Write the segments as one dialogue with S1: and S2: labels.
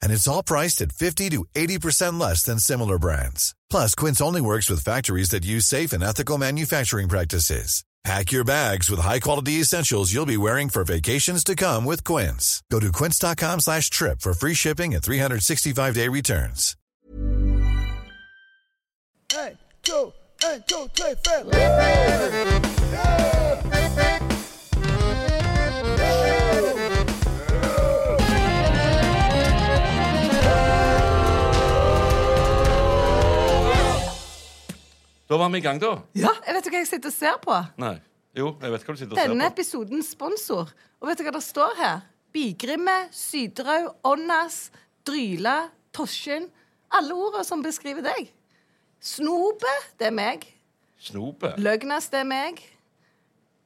S1: And it's all priced at 50 to 80% less than similar brands. Plus, Quince only works with factories that use safe and ethical manufacturing practices. Pack your bags with high-quality essentials you'll be wearing for vacations to come with Quince. Go to quince.com slash trip for free shipping and 365-day returns.
S2: En, to, en, to, tre, fem.
S3: Da var vi i gang, da.
S4: Ja, jeg Eh, vet du hva jeg sitter og ser på?
S3: Nei. Jo, jeg vet hva du sitter og
S4: Denne
S3: ser på.
S4: episodens sponsor. Og vet du hva det står her? Bigrimme, Sydraug, Åndas, Dryla, Tosken. Alle ordene som beskriver deg. Snope, det er meg.
S3: Snope.
S4: Løgnas, det er meg.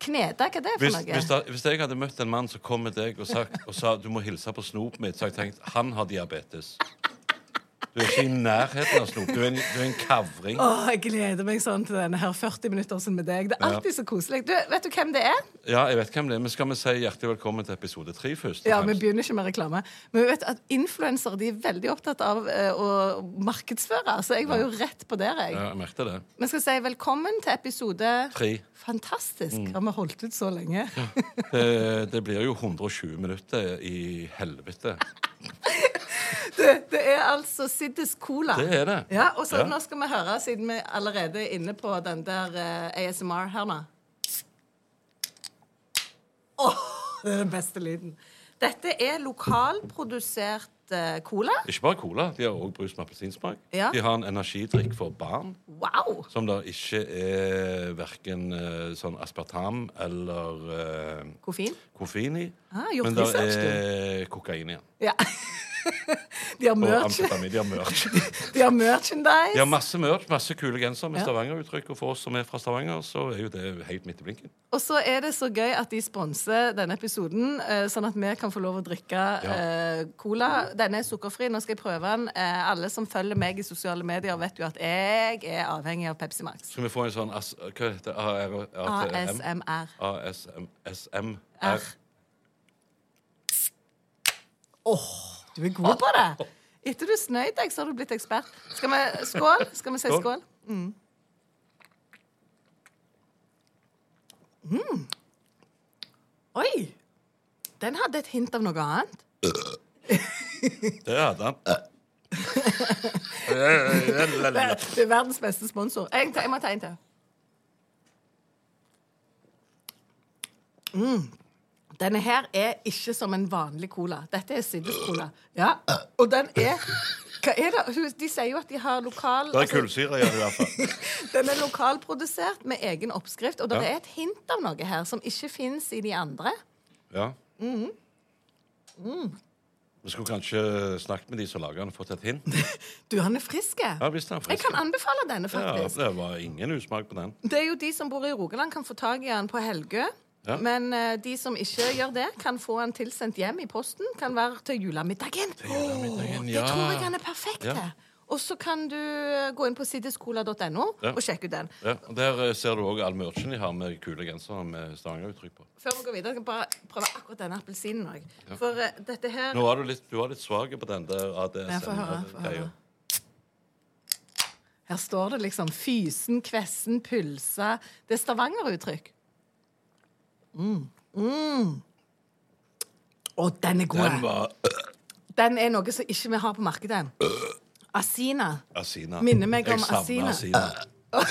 S4: Kneda, hva er det
S3: Hvis,
S4: for noe?
S3: hvis, da, hvis jeg hadde møtt en mann som kom med deg og, sagt, og sa du må hilse på snopet mitt, så hadde jeg tenkt han har diabetes. Du er ikke i nærheten av snop. Du er en, du er en kavring.
S4: Åh, jeg gleder meg sånn til denne her 40 minutter sånn med deg. Det er
S3: Ja.
S4: alltid så koselig. Du, vet du hvem det er?
S3: Ja, jeg vet hvem det er, men skal vi si hjertelig velkommen til episode tre først? og
S4: Ja, Vi
S3: fremst?
S4: begynner ikke med reklame. Men vi vet at influensere de er veldig opptatt av eh, å markedsføre. Så jeg var jo rett på der, jeg.
S3: ja, jeg merkte det.
S4: Vi skal si velkommen til episode
S3: Tre. Mm.
S4: Fantastisk. Har vi holdt ut så lenge?
S3: Det, det blir jo 120 minutter i helvete.
S4: Det er altså Siddis Cola.
S3: Det er det.
S4: Ja, og så
S3: Ja.
S4: Nå skal vi høre, siden vi allerede er inne på den der eh, ASMR her nå. Åh, det er den beste lyden. Dette er lokalprodusert eh, cola.
S3: Ikke bare cola. De har òg brus med appelsinsmak.
S4: Ja.
S3: De har en energidrikk for barn.
S4: Wow!
S3: Som da ikke er verken sånn aspartam eller eh,
S4: Koffein.
S3: koffein i.
S4: Ah, gjort
S3: men det
S4: research,
S3: er kokain i den.
S4: Ja. De har,
S3: Og
S4: merch,
S3: amfetamin. De har merch.
S4: de har merchandise.
S3: De har masse merch, masse kule gensere med
S4: Ja.
S3: Stavanger-uttrykk. Og for oss som er fra Stavanger, så er jo det helt midt i blinken.
S4: Og så er det så gøy at de sponser denne episoden, eh, sånn at vi kan få lov å drikke eh, cola. Denne er sukkerfri. Nå skal jeg prøve den. Eh, alle som følger meg i sosiale medier, vet jo at jeg er avhengig av Pepsi Max.
S3: Skal vi få en sånn as, Hva heter det? ARM?
S4: ASMR.
S3: ASM... SM...
S4: R. Du er god på det! Etter du snøyt deg, så har du blitt ekspert. Skal vi skål? Skal vi si
S3: Skål.
S4: skål? Mm. Mm. Oi! Den hadde et hint av noe annet.
S3: Det hadde han.
S4: Det er verdens beste sponsor. Jeg, jeg må ta en til. Mm. Denne her er ikke som en vanlig cola. Dette er Siddes cola. Ja. Og den er Hva er det? Hun- De sier jo at de har lokal
S3: Det er
S4: altså,
S3: kullsyre i det, i hvert fall.
S4: Den er lokalprodusert med egen oppskrift, og det er et hint av noe her som ikke fins i de andre.
S3: Ja.
S4: Mm-hmm.
S3: Mm. Vi skulle kanskje snakket med de som lager den, og fått et hint.
S4: Du, han er frisk.
S3: Ja, visst er han frisk.
S4: Jeg kan anbefale denne,
S3: Ja,
S4: faktisk.
S3: det var ingen usmak på den.
S4: Det er jo de som bor i Rogaland, kan få tak i den på Helgø.
S3: Ja.
S4: Men eh, de som ikke gjør det, kan få den tilsendt hjem i posten. Kan være til julemiddagen. Åh,
S3: julemiddagen,
S4: Det
S3: ja.
S4: tror jeg han er perfekt
S3: Ja.
S4: til. Og så kan du eh, gå inn på siddiscola.no
S3: Ja.
S4: og sjekke ut den.
S3: Ja, og Der eh, ser du òg all merchen de har med kule gensere med Stavanger-uttrykk på.
S4: Før vi går videre, skal jeg bare prøve akkurat denne appelsinen òg. For eh, dette her
S3: Nå var du litt, du var litt svak på den der
S4: Ja, få høre, få høre. Her står det liksom fysen, kvessen, pulsa. Det er Stavanger-uttrykk. Mm. Mm. Å, den er god.
S3: Den var
S4: Den er noe som ikke vi har på markedet. Asina.
S3: Asina.
S4: Minner meg om
S3: Jeg savner
S4: Asina.
S3: Asina.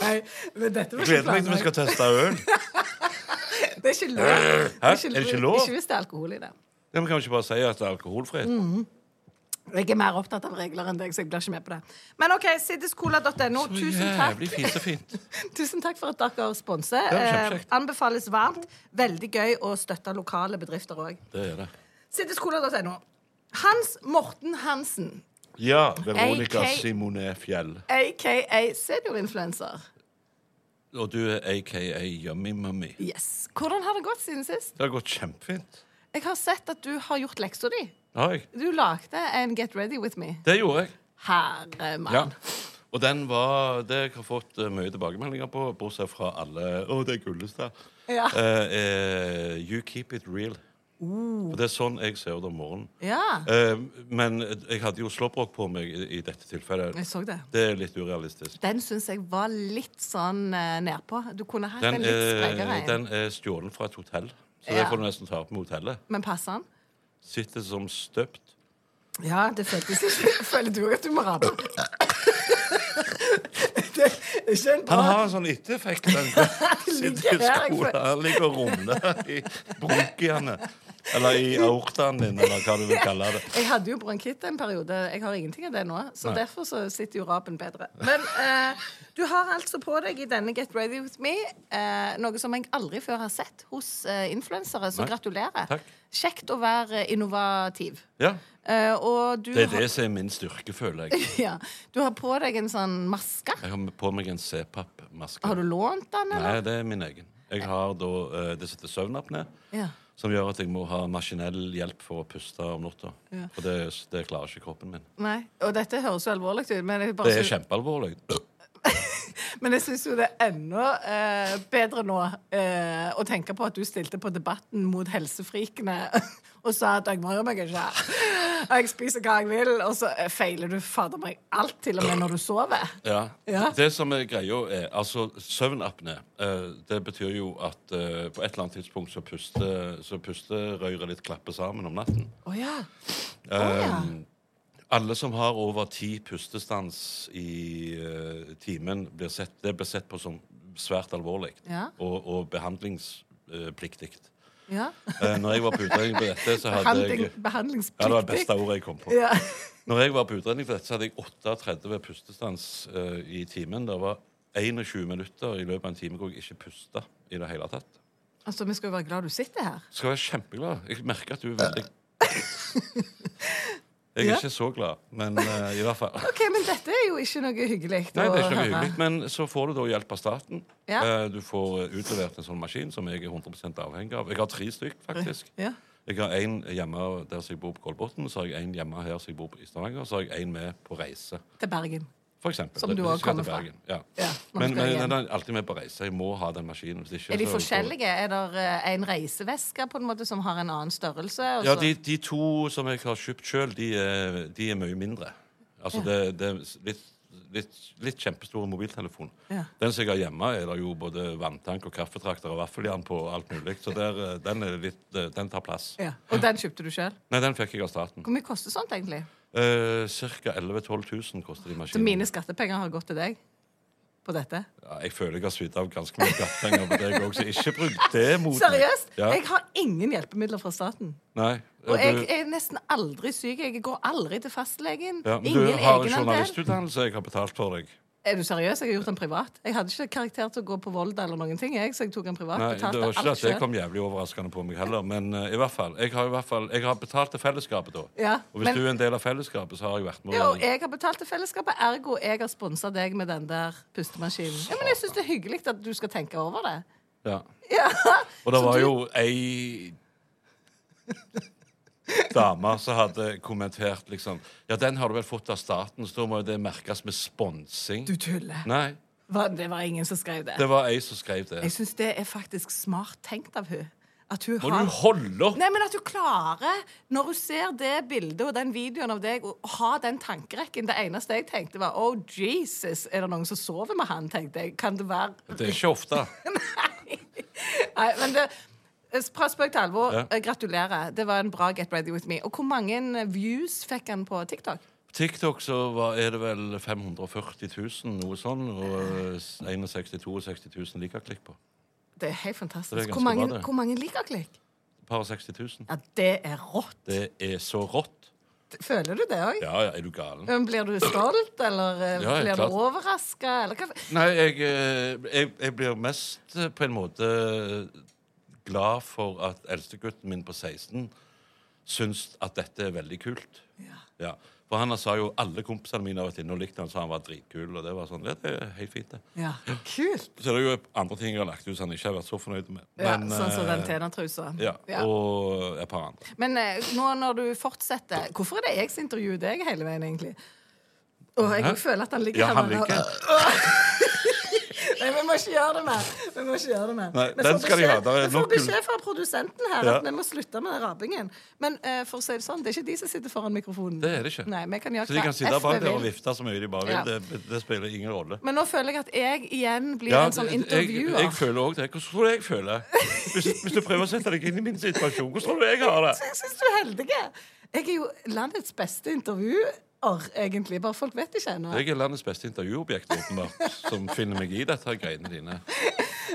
S4: Nei, men dette var
S3: Jeg
S4: ikke
S3: gleder meg til vi skal
S4: planlagt.
S3: teste øl.
S4: Det er ikke lov.
S3: Hæ?
S4: Det
S3: Er det ikke lov?
S4: Ikke hvis det er alkohol i det.
S3: Ja, men kan vi ikke bare si at det er alkoholfritt?
S4: Mm, Jeg er mer opptatt av regler enn deg, så jeg blir ikke med på det. Men OK, siddiscola.no. Tusen takk.
S3: Jævlig fisefint.
S4: Tusen takk for at dere sponser.
S3: Det var kjempekjekt.
S4: Eh, anbefales varmt. Veldig gøy å støtte lokale bedrifter òg.
S3: Det er det.
S4: Siddiscola.no. Hans Morten Hansen,
S3: Ja, Veronica
S4: AK.
S3: Simone Fjell.
S4: aka seniorinfluenser.
S3: Og du er aka Yummy Mummy.
S4: Yes. Hvordan har det gått siden sist?
S3: Det har gått kjempefint.
S4: Jeg har sett at du har gjort leksa di.
S3: Har jeg?
S4: Du lagde en Get Ready With Me.
S3: Det gjorde jeg.
S4: Herre mann.
S3: Ja. Og den var Det jeg har fått eh, mye tilbakemeldinger på, bortsett fra alle Å, det er Gullestad.
S4: Ja.
S3: Eh, eh, you keep it real. For det er sånn jeg ser det om morgenen.
S4: Uh. Ja.
S3: Eh, men jeg hadde jo slåbrok på meg i, i dette tilfellet.
S4: Jeg så det.
S3: Det er litt urealistisk.
S4: Den syns jeg var litt sånn eh, nedpå. Du kunne hatt
S3: Den
S4: en litt
S3: er,
S4: sprekere en.
S3: den er stjålet fra et hotell, så det
S4: Ja.
S3: får du nesten ta opp med hotellet.
S4: Men passer den?
S3: Sitter som støpt.
S4: Ja, det føltes ikke Føler du òg at du må rape? det er ikke en
S3: Han
S4: bra
S3: har en sånn ettereffekt. Den sitter i
S4: her, jeg
S3: skolen,
S4: får-
S3: han ligger og rumler i bronkiene. Eller i aortaen din, eller hva du vil kalle det.
S4: Jeg hadde jo bronkitt en periode. Jeg har ingenting av det nå. Så derfor så sitter jo rapen bedre. Men eh, du har altså på deg i denne Get Ready With Me eh, noe som jeg aldri før har sett hos eh, influensere, så
S3: Nei.
S4: gratulerer.
S3: Takk.
S4: Kjekt å være innovativ.
S3: Ja,
S4: Eh, og du
S3: Det er
S4: har,
S3: det som er min styrke, føler jeg.
S4: Ja, du har på deg en sånn maske.
S3: Jeg har på meg en C-papp-maske.
S4: Har du lånt den,
S3: Nei,
S4: eller?
S3: det er min egen. Jeg har da eh, det som heter søvnapné,
S4: Ja.
S3: som gjør at jeg må ha maskinell hjelp for å puste om natta. For det, det klarer ikke kroppen min.
S4: Nei. Og dette høres jo alvorlig ut, men jeg, bare
S3: Det er
S4: synes-
S3: kjempealvorlig.
S4: men jeg syns jo det er enda eh, bedre nå eh, å tenke på at du stilte på Debatten mot helsefrikene og sa at jeg bryr meg ikke, jeg spiser hva jeg vil, og så eh, feiler du fader meg alt, til og med når du sover.
S3: Ja.
S4: Ja.
S3: Det som er greia, er altså søvnapné. eh, det betyr jo at eh, på et eller annet tidspunkt så puster, så pusterøret litt klapper sammen om natten.
S4: Å ja. Eh, Å ja.
S3: Alle som har over ti pustestans i eh, timen, blir sett, det blir sett på som svært alvorlig
S4: Ja.
S3: og, og behandlingspliktig.
S4: ja.
S3: Uh, når jeg var på utredning på dette, så hadde
S4: Behandling,
S3: jeg Ja, det var det
S4: behandlingspliktig.
S3: beste ordet jeg kom på.
S4: Ja.
S3: Når jeg var på utredning for dette, så hadde jeg 38 pustestans eh, i timen. Det var 21 minutter i løpet av en time hvor jeg ikke pusta i det hele tatt.
S4: Altså, vi skal jo være glad du sitter her.
S3: Skal være kjempeglad. Jeg merker at du er veldig Jeg er
S4: Ja.
S3: ikke så glad, men eh, i hvert fall.
S4: OK, men dette er jo ikke noe hyggelig
S3: Nei,
S4: å
S3: det er ikke noe
S4: høre.
S3: hyggelig. Men så får du da hjelp av staten.
S4: Ja.
S3: Eh, Du får utlevert en sånn maskin som jeg er 100 avhengig av. Jeg har tre stykk, faktisk.
S4: Ja.
S3: Jeg har én hjemme der som jeg bor på Kolbotn, så har jeg én hjemme her som jeg bor på i Stavanger, og så har jeg én med på reise.
S4: Til Bergen.
S3: For eksempel.
S4: Som
S3: Det-
S4: du
S3: hvis
S4: også
S3: jeg skal til
S4: kommer fra.
S3: Bergen, Ja.
S4: Ja, når
S3: men
S4: du skal
S3: men
S4: hjem.
S3: den er alltid med på reise. Jeg må ha den maskinen. Hvis ikke,
S4: Er de
S3: så-
S4: forskjellige? Er det eh, en reiseveske på en måte som har en annen størrelse? og
S3: Ja,
S4: så-
S3: de, de to som jeg har kjøpt sjøl, de, er- de er mye mindre. Altså, det, det er litt, litt, litt kjempestore mobiltelefon.
S4: Ja.
S3: Den som jeg har hjemme, er det jo både vanntank og kaffetrakter og vaffeljern på. og alt mulig. Så der, eh, den, er litt, eh, den tar plass.
S4: Ja. Og den kjøpte du sjøl?
S3: Nei, den fikk jeg av staten.
S4: Hvor mye koster sånt, egentlig?
S3: Eh, Ca. 11 000-12 000 koster de
S4: Så
S3: maskinene.
S4: mine skattepenger har gått til deg på dette?
S3: Ja, jeg føler jeg har svidd av ganske mye gattpenger på deg òg, så ikke bruk det mot meg.
S4: Seriøst?
S3: Ja.
S4: Jeg har ingen hjelpemidler fra staten.
S3: Nei, du-
S4: Og jeg er nesten aldri syk. Jeg går aldri til fastlegen.
S3: Ja, men
S4: Ingen
S3: du har en
S4: egenandel.
S3: journalistutdannelse jeg har betalt for deg.
S4: Er du seriøs? Jeg har gjort den privat. Jeg hadde ikke karakter til å gå på Volda eller noen ting, jeg, så jeg tok den privat.
S3: Nei, det
S4: betalte
S3: var ikke
S4: alt
S3: at det
S4: selv.
S3: kom jævlig overraskende på meg heller, men eh, i hvert fall. Jeg har, i hvert fall, jeg har betalt til fellesskapet, da.
S4: Ja,
S3: og hvis
S4: men-
S3: du er en del av fellesskapet, så har jeg vært med.
S4: Ja, og jeg har betalt til fellesskapet, ergo jeg har sponsa deg med den der pustemaskinen. Ja, men jeg syns det er hyggelig at du skal tenke over det.
S3: Ja.
S4: Ja.
S3: Og det
S4: Så
S3: var
S4: du-
S3: jo ei dame som hadde kommentert liksom Ja, den har du vel fått av staten, så da må jo det merkes med sponsing.
S4: Du tuller.
S3: Nei.
S4: Hva- Det var ingen som skrev det.
S3: Det var ei som skrev det.
S4: Jeg syns det er faktisk smart tenkt av hun At hun
S3: Må
S4: har
S3: du holde opp?
S4: Nei, men at du klarer, når du ser det bildet og den videoen av deg, å ha den tankerekken. Det eneste jeg tenkte, var Oh, Jesus, er det noen som sover med han? tenkte jeg. Kan det være
S3: Det er ikke ofte.
S4: Nei. Nei, men det Fra spøk til alvor,
S3: Ja.
S4: eh, gratulerer. Det var en bra Get Ready With Me. Og hvor mange eh, views fikk han på TikTok?
S3: På TikTok så var, er det vel 540 000, noe sånn, og 61 000-62 000 likeklikk på.
S4: Det er helt fantastisk.
S3: Det er ganske
S4: hvor, mange,
S3: bra, det.
S4: hvor mange liker klikk?
S3: Et par og 60 000.
S4: Ja, det er rått.
S3: Det er så rått.
S4: Føler du det òg?
S3: Ja, ja, er du galen?
S4: Blir du stolt, eller eh,
S3: Ja,
S4: blir
S3: klart.
S4: du overraska, eller hva?
S3: Nei, jeg, eh, jeg, jeg blir mest eh, på en måte glad for at eldstegutten min på 16 syns at dette er veldig kult. Ja. For han sa jo alle kompisene mine har vært inne og likt han, så han var dritkul. Og det var sånn, det, det er helt fint, det.
S4: Ja, kult.
S3: Så det er jo andre ting jeg har lagt ut som han ikke har vært så fornøyd med.
S4: Ja,
S3: Men,
S4: sånn som
S3: eh,
S4: den tenatrusa.
S3: ja,
S4: Ja.
S3: Og et par andre.
S4: Men eh, nå når du fortsetter Hvorfor er det jeg som intervjuer deg hele veien, egentlig? Og jeg
S3: Hæ?
S4: føler at han ligger
S3: Ja, han
S4: med-
S3: liker
S4: Nei, vi må ikke gjøre det mer. Vi må ikke gjøre det mer.
S3: Nei,
S4: Vi
S3: den
S4: får
S3: skal de ha.
S4: beskjed-
S3: Det er
S4: Vi får
S3: nok-
S4: beskjed fra produsenten her
S3: Ja.
S4: at vi må slutte med den rapingen. Men eh, for å si det sånn, det er ikke de som sitter foran mikrofonen.
S3: Det er det ikke.
S4: Nei, vi kan gjøre
S3: så de
S4: hva
S3: kan sitte
S4: F vi
S3: bak der
S4: vil.
S3: og vifte så mye de bare vil.
S4: Ja.
S3: Det, det spiller ingen rolle.
S4: Men nå føler jeg at jeg igjen blir en sånn
S3: det- jeg,
S4: intervjuer.
S3: jeg føler òg det. Hvordan tror du jeg føler? Hvis, hvis du prøver å sette deg inn i min situasjon, hvordan tror du jeg har det?
S4: Jeg syns du er heldig. Jeg er jo landets beste intervjuer, egentlig. Bare folk vet ikke ennå.
S3: Jeg er landets beste intervjuobjekt, åpenbart, som finner meg i dette greiene dine.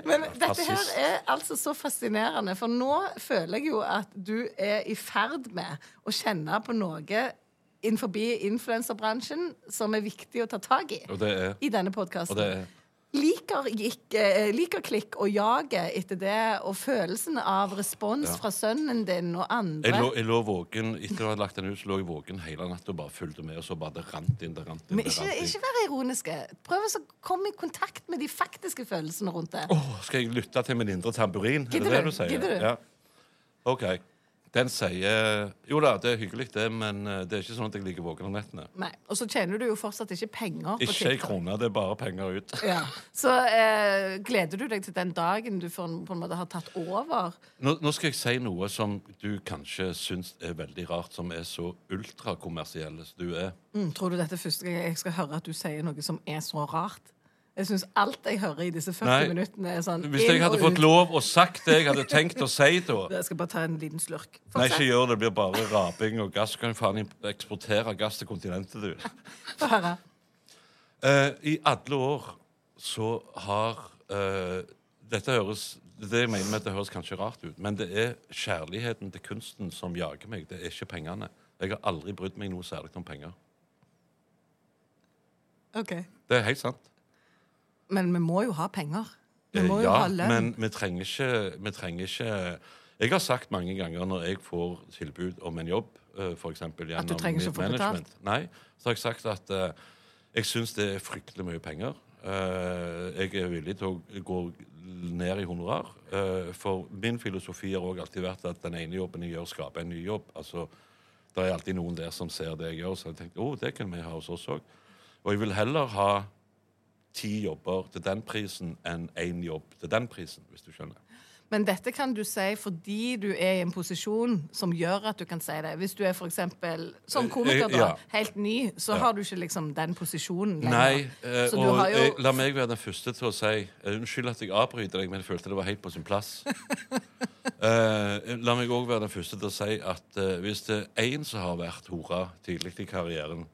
S4: Men dette her
S3: Fascist.
S4: er altså så fascinerende, for nå føler jeg jo at du er i ferd med å kjenne på noe innenfor influenserbransjen som er viktig å ta tak i
S3: Og det er
S4: i denne
S3: Og det
S4: podkasten.
S3: er
S4: Liker, gikk- eh, liker klikk og jaget etter det, og følelsen av respons fra sønnen din og
S3: jeg lå,
S4: andre.
S3: jeg lå våken etter å ha lagt den ut, så lå jeg våken hele natta og bare fulgte med. Og så bare det rant inn, det rant inn.
S4: Men
S3: det
S4: ikke,
S3: rant
S4: ikke
S3: inn.
S4: vær ironiske. Prøv å så komme i kontakt med de faktiske følelsene rundt det.
S3: Åh, skal jeg lytte til min indre tamburin? Er
S4: Gidder
S3: det det
S4: du?
S3: du sier?
S4: Gidder du?
S3: Ja. OK. Den sier Jo da, det er hyggelig, det, men eh, det er ikke sånn at jeg ligger våken om nettene.
S4: Nei. Og så tjener du jo fortsatt ikke penger. på
S3: Ikke ei
S4: TikTok.
S3: krone, det er bare penger ut.
S4: Ja. Så eh, gleder du deg til den dagen du får, på en måte har tatt over?
S3: Nå, nå skal jeg si noe som du kanskje syns er veldig rart, som er så ultrakommersiell som du er.
S4: Mm, tror du dette er første gang jeg skal høre at du sier noe som er så rart? Jeg syns alt jeg hører i disse 40
S3: Nei.
S4: minuttene, er sånn
S3: Hvis jeg hadde fått lov og sagt det jeg hadde tenkt å si da
S4: Jeg skal bare ta en liten slurk.
S3: Nei,
S4: Fortsett.
S3: ikke gjør det. Det blir bare raping og gass. Kan jo faen imp- eksportere gass til kontinentet, du.
S4: Få høre.
S3: Eh, I alle år så har eh, Dette høres Det jeg mener med at det høres kanskje rart ut, men det er kjærligheten til kunsten som jager meg. Det er ikke pengene. Jeg har aldri brydd meg noe særlig om penger.
S4: OK.
S3: Det er helt sant.
S4: Men vi må jo ha penger. Vi
S3: Eh,
S4: må jo
S3: ja,
S4: ha lønn.
S3: men vi trenger ikke Vi trenger ikke Jeg har sagt mange ganger når jeg får tilbud om en jobb, eh, for eksempel gjennom
S4: du trenger ikke
S3: mitt
S4: å få betalt?
S3: management. Nei, så har jeg sagt at eh, jeg syns det er fryktelig mye penger. Eh, jeg er villig til å gå ned i honorar. eh, for min filosofi har også alltid vært at den ene jobben jeg gjør, skaper en ny jobb. Altså, det er alltid noen der som ser det jeg gjør, så jeg tenkte oh, det kan vi ha hos oss òg. Og jeg vil heller ha ti jobber til den prisen enn én jobb til den prisen, hvis du skjønner.
S4: Men dette kan du si fordi du er i en posisjon som gjør at du kan si det. Hvis du er for eksempel som komiker,
S3: Eh,
S4: da,
S3: ja.
S4: helt ny, så har du ikke liksom den posisjonen
S3: Nei,
S4: lenger.
S3: eh,
S4: så du
S3: og
S4: har jo
S3: eh, la meg være den første til å si eh, Unnskyld at jeg avbryter deg, men jeg følte det var helt på sin plass. Eh, la meg òg være den første til å si at eh, hvis det er én som har vært hora tidlig i karrieren,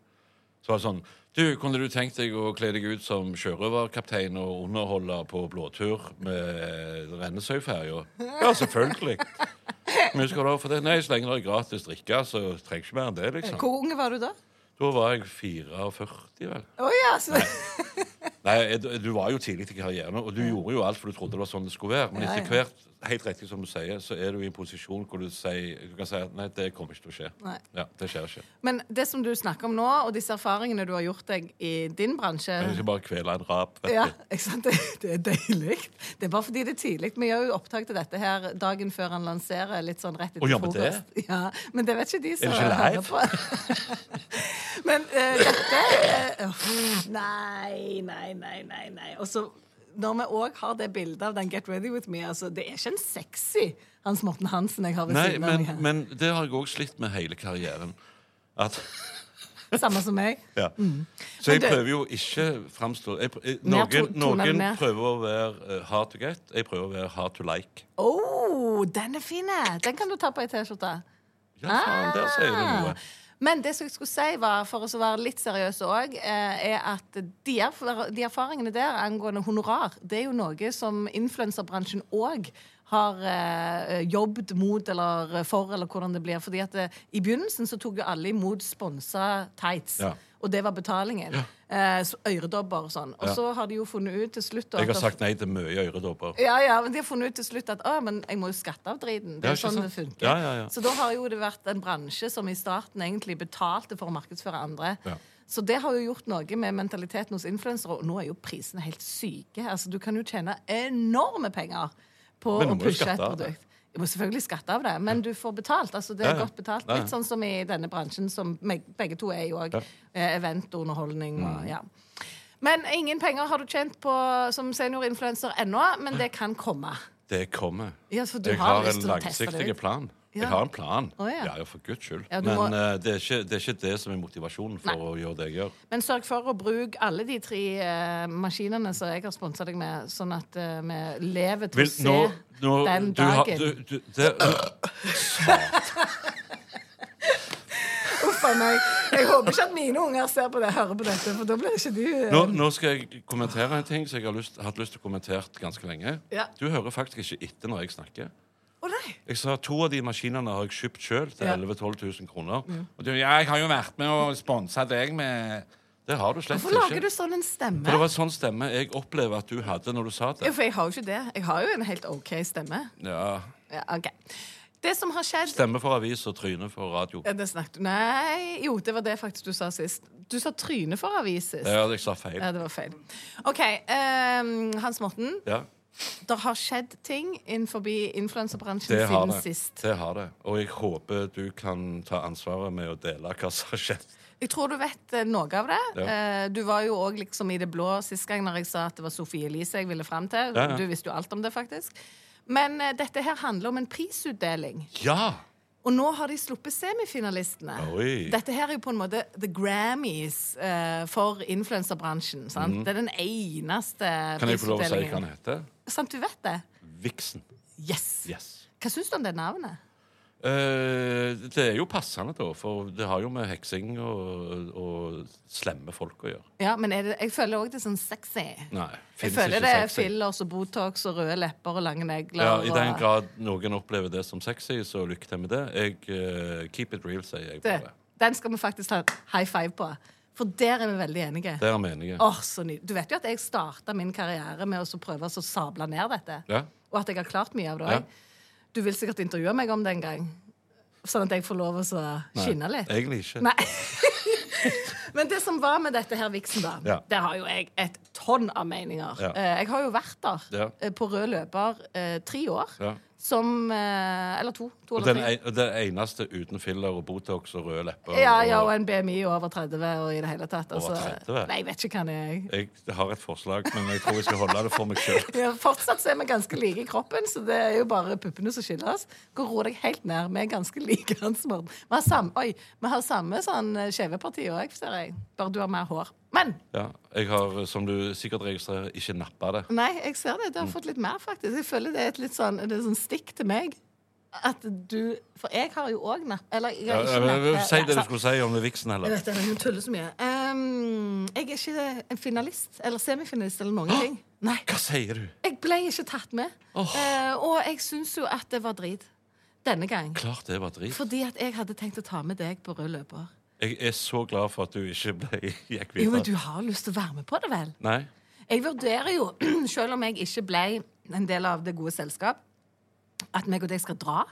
S3: så var det sånn Du, kunne du tenkt deg å kle deg ut som sjørøverkaptein og underholde på blåtur med Rennesøyferja? Ja, selvfølgelig. Men husker du for det? Nei, så lenge det er gratis drikke, så trenger jeg ikke mer enn det, liksom.
S4: Hvor unge var du da?
S3: Da var jeg 44, vel.
S4: Å ja, så...
S3: Nei, Nei, jeg- Du var jo tidlig i karrieren, og du gjorde jo alt for du trodde det var sånn det skulle være. Men
S4: Ja,
S3: etter
S4: ja.
S3: hvert, helt riktig som du sier, så er du i en posisjon hvor du, sier, du kan si at nei, det kommer ikke til å skje.
S4: Nei.
S3: Ja, det skjer ikke.
S4: Men det som du snakker om nå, og disse erfaringene du har gjort deg i din bransje
S3: Jeg skal bare kvele en rap. vet
S4: ja,
S3: du.
S4: ikke sant? Det, det er deilig. Det er bare fordi det er tidlig. Vi gjør jo opptak til dette her dagen før han lanserer. litt sånn rett
S3: Å,
S4: etter
S3: gjør vi det?
S4: frokost. Ja, Men det vet ikke de som
S3: ikke live?
S4: på. men eh, dette eh, uff, Nei, nei, nei, nei. nei. Og så når vi òg har det bildet av den Get Ready With Me altså, Det er ikke en sexy Hans Morten Hansen jeg har ved
S3: Nei,
S4: siden av meg
S3: men,
S4: her.
S3: men det har jeg òg slitt med hele karrieren. At
S4: Samme som meg.
S3: Ja. Så jeg
S4: Mm. Men du-
S3: prøver jo ikke framstå jeg, pr- jeg,
S4: Mer to-
S3: Noen,
S4: tone det
S3: noen
S4: ned.
S3: prøver å være eh, hard to get. Jeg prøver å være hard to like.
S4: Oh, den er fin! eh. Den kan du ta på ei T-skjorte.
S3: Ja, faen, der sier du
S4: Ah!
S3: noe.
S4: Men det som jeg skulle si var, for å så være litt seriøs òg, er at de, erf- de erfaringene der angående honorar, det er jo noe som influenserbransjen òg har eh, jobbet mot eller for, eller hvordan det blir. Fordi at eh, i begynnelsen så tok jo alle imot sponsa tights.
S3: Ja.
S4: Og det var betalingen. Eh, så øredobber og sånn. Og
S3: Ja.
S4: så har de jo funnet ut til slutt da
S3: Jeg har
S4: at-
S3: sagt nei til mye øredobber.
S4: altså. ja, ja, men de har funnet ut til slutt at «Å, men jeg må jo skatte av driten. Det
S3: Ja,
S4: er
S3: ikke
S4: sånn det
S3: sant?
S4: funker.
S3: Ja, ja, ja.
S4: Så da har jo det vært en bransje som i starten egentlig betalte for å markedsføre andre.
S3: Ja.
S4: Så det har jo gjort noe med mentaliteten hos influensere, og nå er jo prisene helt syke. Altså, du kan jo tjene enorme penger på
S3: Men nå
S4: å
S3: må du
S4: pushe et
S3: skatte av det.
S4: produkt. Du må selvfølgelig skatte av det, men du får betalt. Altså, det er
S3: Ja, ja.
S4: godt betalt.
S3: Ja, ja.
S4: Litt sånn som i denne bransjen, som meg- begge to er jo òg.
S3: Ja. Mm.
S4: Eventunderholdning og ja. Men ingen penger har du tjent på som seniorinfluenser ennå, men det kan komme.
S3: Det kommer.
S4: Ja, for du
S3: jeg
S4: har
S3: har,
S4: lyst
S3: en
S4: til å teste det
S3: langsiktig
S4: ut.
S3: plan.
S4: Ja.
S3: Jeg har en plan.
S4: Å, ja.
S3: ja, for guds skyld.
S4: Ja, du
S3: Men
S4: må-
S3: eh, det, er ikke, det er ikke det som er motivasjonen for
S4: Nei.
S3: å gjøre det jeg gjør.
S4: Men sørg for å bruke alle de tre eh, maskinene som jeg har sponsa deg med, sånn at eh, vi lever til
S3: Vil,
S4: å se
S3: nå, nå,
S4: den
S3: du har-
S4: dagen.
S3: du, du, det,
S4: Uff a meg. Jeg håper ikke at mine unger ser på det, hører på dette, for da blir ikke du eh,
S3: nå, nå skal jeg kommentere en ting som jeg har lyst, hatt lyst til å kommentere ganske lenge.
S4: Ja.
S3: Du hører faktisk ikke etter når jeg snakker.
S4: Å nei.
S3: Jeg sa To av de maskinene har jeg kjøpt sjøl til
S4: Ja. Mm.
S3: 11 000-12 000 kroner. Og du, ja, jeg har jo vært med og sponsa deg med Det har du slett
S4: Hvorfor lager du
S3: ikke.
S4: sånn en
S3: For
S4: stemme?
S3: det var sånn stemme jeg opplever at du hadde når du sa
S4: Jo,
S3: det.
S4: for jeg har jo ikke det. Jeg har jo en helt OK stemme.
S3: Ja,
S4: Ja, ok. Det som har skjedd
S3: Stemme for avis og tryne for radio.
S4: Ja, det snakket du Nei, jo, det var det faktisk du sa sist. Du sa tryne for avis sist.
S3: Det er jeg sa feil.
S4: Ja, det var feil. OK. eh, Hans Morten.
S3: Ja,
S4: Det har skjedd ting innenfor influenserbransjen
S3: det har
S4: siden
S3: det.
S4: sist.
S3: det har det. Og jeg håper du kan ta ansvaret med å dele hva som har skjedd.
S4: Jeg tror du vet eh, noe av det.
S3: Ja.
S4: Eh, Du var jo òg liksom i det blå sist gang når jeg sa at det var Sofie Elise jeg ville fram til.
S3: Ja, ja.
S4: Du visste jo alt om det, faktisk. Men eh, dette her handler om en prisutdeling.
S3: Ja!
S4: Og nå har de sluppet semifinalistene.
S3: Oi.
S4: Dette her er jo på en måte the Grammys eh, for influenserbransjen. sant? Det er den eneste
S3: Mhm. Kan jeg få lov å si hva
S4: prisutdelingen.
S3: han heter?
S4: Sant, du vet det?
S3: Vixen.
S4: Yes!
S3: Yes.
S4: Hva syns du om det navnet?
S3: Eh, det er jo passende, da, for det har jo med heksing og, og slemme folk å gjøre.
S4: Ja, men er det, jeg føler òg det er sånn sexy.
S3: Nei,
S4: Jeg
S3: finnes
S4: føler
S3: ikke
S4: det er
S3: sexy.
S4: fillers og Botox og røde lepper og lange negler.
S3: Ja, I den
S4: og-
S3: grad noen opplever det som sexy, så lykke til med det. Jeg, eh, keep it real, sier jeg
S4: Det-
S3: bare.
S4: Den skal vi faktisk ta en high five på. For der er vi veldig enige.
S3: Der mener jeg.
S4: Åh, så nydelig. Du vet jo at jeg starta min karriere med å så prøve å så sable ned dette.
S3: Ja.
S4: Og at jeg har klart mye av det
S3: Ja.
S4: òg. Du vil sikkert intervjue meg om det en gang. Sånn at jeg får lov å så skinne litt.
S3: Egentlig ikke.
S4: Nei. Men det som var med dette her viksen, da,
S3: Ja.
S4: der har jo jeg et tonn av meninger.
S3: Ja.
S4: Eh, Jeg har jo vært der
S3: Ja.
S4: eh, på rød løper eh, tre år.
S3: Ja.
S4: Som eh, Eller to. to
S3: Og
S4: eller
S3: den,
S4: tre.
S3: en- og den eneste uten filler og Botox og røde lepper.
S4: Ja, ja, og en BMI over 30 og i det hele tatt. Altså.
S3: Over 30?
S4: Nei, jeg vet ikke hva det er.
S3: Jeg har et forslag, men jeg tror jeg skal holde det for meg sjøl.
S4: Ja, fortsatt så er vi ganske like i kroppen, så det er jo bare puppene som skiller oss. Gå og ro deg helt ned. Vi er ganske like, Hans Morten. Vi har samme, oi, vi har samme sånn eh, skjeveparti òg, ser jeg. Bare du har mer hår. Men
S3: Ja, jeg har, som du sikkert registrerer, ikke nappa det.
S4: nei, jeg ser det. Du
S3: Mm.
S4: har fått litt mer, faktisk. Jeg føler det er et litt sånn, det er sånn stikk til meg. At du For jeg har jo òg napp... Eller jeg
S3: Ja,
S4: har ikke
S3: men-
S4: napp-
S3: Si det du
S4: Ja,
S3: skulle si om det viksen,
S4: Jeg
S3: heller.
S4: vet det, men hun tuller så mye. Ehm, jeg er ikke en finalist eller semifinalist eller noen ting. Nei,
S3: Hva sier du?
S4: Jeg ble ikke tatt med. Eh, og jeg syns jo at det var drit denne gang.
S3: Klart det var drit.
S4: Fordi at jeg hadde tenkt å ta med deg på rød løper.
S3: Jeg er så glad for at du ikke ble, gikk
S4: Jo, men
S3: videre.
S4: du har lyst til å være med på det, vel?
S3: Nei.
S4: Jeg vurderer jo, selv om jeg ikke ble en del av det gode selskap, at meg og deg skal dra.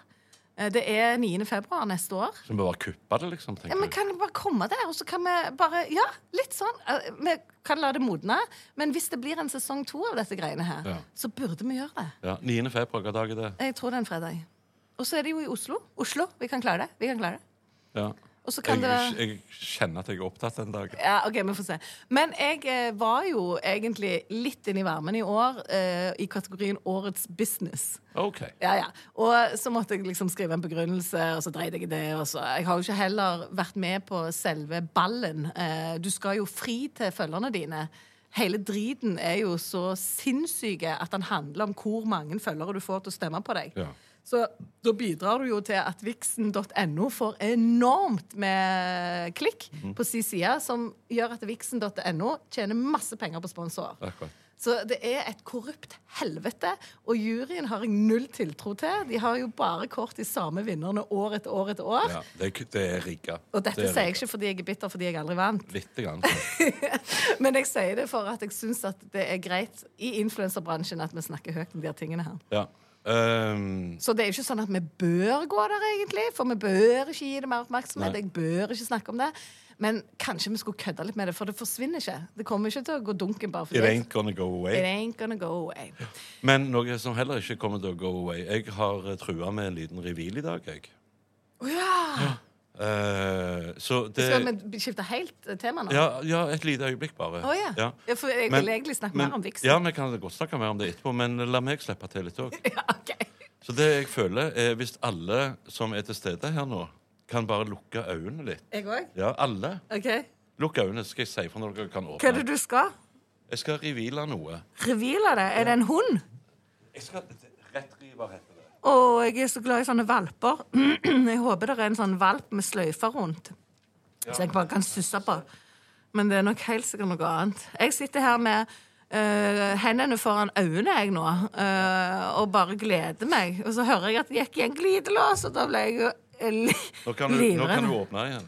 S4: Eh, Det er 9. februar neste år.
S3: Så vi bare kuppa det, liksom?
S4: Ja,
S3: tenker
S4: men
S3: du?
S4: kan vi bare komme der, og så kan vi bare Ja, litt sånn. eh, Vi kan la det modne, men hvis det blir en sesong to av dette greiene her,
S3: Ja.
S4: så burde vi gjøre det.
S3: Ja, 9. februar, hvilken dag er det?
S4: Jeg tror det er en fredag. Og så er det jo i Oslo. Oslo, vi kan klare det. Vi kan klare det.
S3: Ja.
S4: Og så kan
S3: Jeg,
S4: det være
S3: jeg kjenner at jeg er opptatt den dagen.
S4: ja, OK, vi får se. Men jeg eh, var jo egentlig litt inn i varmen i år eh, i kategorien Årets business.
S3: OK.
S4: Ja, ja. Og så måtte jeg liksom skrive en begrunnelse, og så dreide jeg i det. Og så. Jeg har jo ikke heller vært med på selve ballen. Eh, Du skal jo fri til følgerne dine. Hele driten er jo så sinnssyke at den handler om hvor mange følgere du får til å stemme på deg.
S3: Ja.
S4: Så da bidrar du jo til at vixen.no får enormt med klikk
S3: Mhm.
S4: på sin side, som gjør at vixen.no tjener masse penger på sponsorer.
S3: Akkurat.
S4: Så det er et korrupt helvete, og juryen har jeg null tiltro til. De har jo bare kort de samme vinnerne år etter år etter år.
S3: Ja, det, er ku- det er rigga.
S4: Og dette
S3: Det er
S4: sier jeg
S3: rigga.
S4: ikke fordi jeg er bitter fordi jeg aldri vant,
S3: Litt. Grann, så.
S4: men jeg sier det for at jeg syns at det er greit i influenserbransjen at vi snakker høyt om de her tingene her.
S3: ja. Ehm,
S4: Så det er jo ikke sånn at vi bør gå der, egentlig, for vi bør ikke gi det mer oppmerksomhet.
S3: Nei.
S4: Jeg bør ikke snakke om det. Men kanskje vi skulle kødde litt med det, for det forsvinner ikke. Det kommer ikke til å gå dunken bare fordi
S3: it ain't gonna go away.
S4: It ain't gonna go away.
S3: Men noe som heller ikke kommer til å go away. Jeg har eh, trua med en liten reveal i dag, jeg.
S4: Å ja!
S3: Eh, så det
S4: Skal vi skifte helt eh, tema nå?
S3: ja, ja, et lite øyeblikk, bare.
S4: Å ja. Ja, for jeg vil egentlig snakke mer om Vixen.
S3: Ja, vi kan godt snakke mer om det etterpå, men la meg slippe til litt òg.
S4: Ja, ok.
S3: Så det jeg føler, er hvis alle som er til stede her nå, kan bare lukke øynene litt.
S4: Jeg òg?
S3: Ja, alle.
S4: OK.
S3: Lukk øynene, så skal jeg si for når dere kan
S4: Hva er det
S3: åpne.
S4: du skal?
S3: Jeg skal reveale noe.
S4: Reveale det? Er det en hund?
S3: Jeg skal Rettriver heter det.
S4: Å, jeg er så glad i sånne valper. jeg håper det er en sånn valp med sløyfer rundt, så jeg bare kan susse på. Men det er nok helt sikkert noe annet. Jeg sitter her med eh, hendene foran øynene jeg nå, eh, og bare gleder meg. Og så hører jeg at det gikk i en glidelås, og da ble jeg jo eh, li
S3: Nå kan du, nå kan du åpne igjen.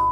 S5: a-"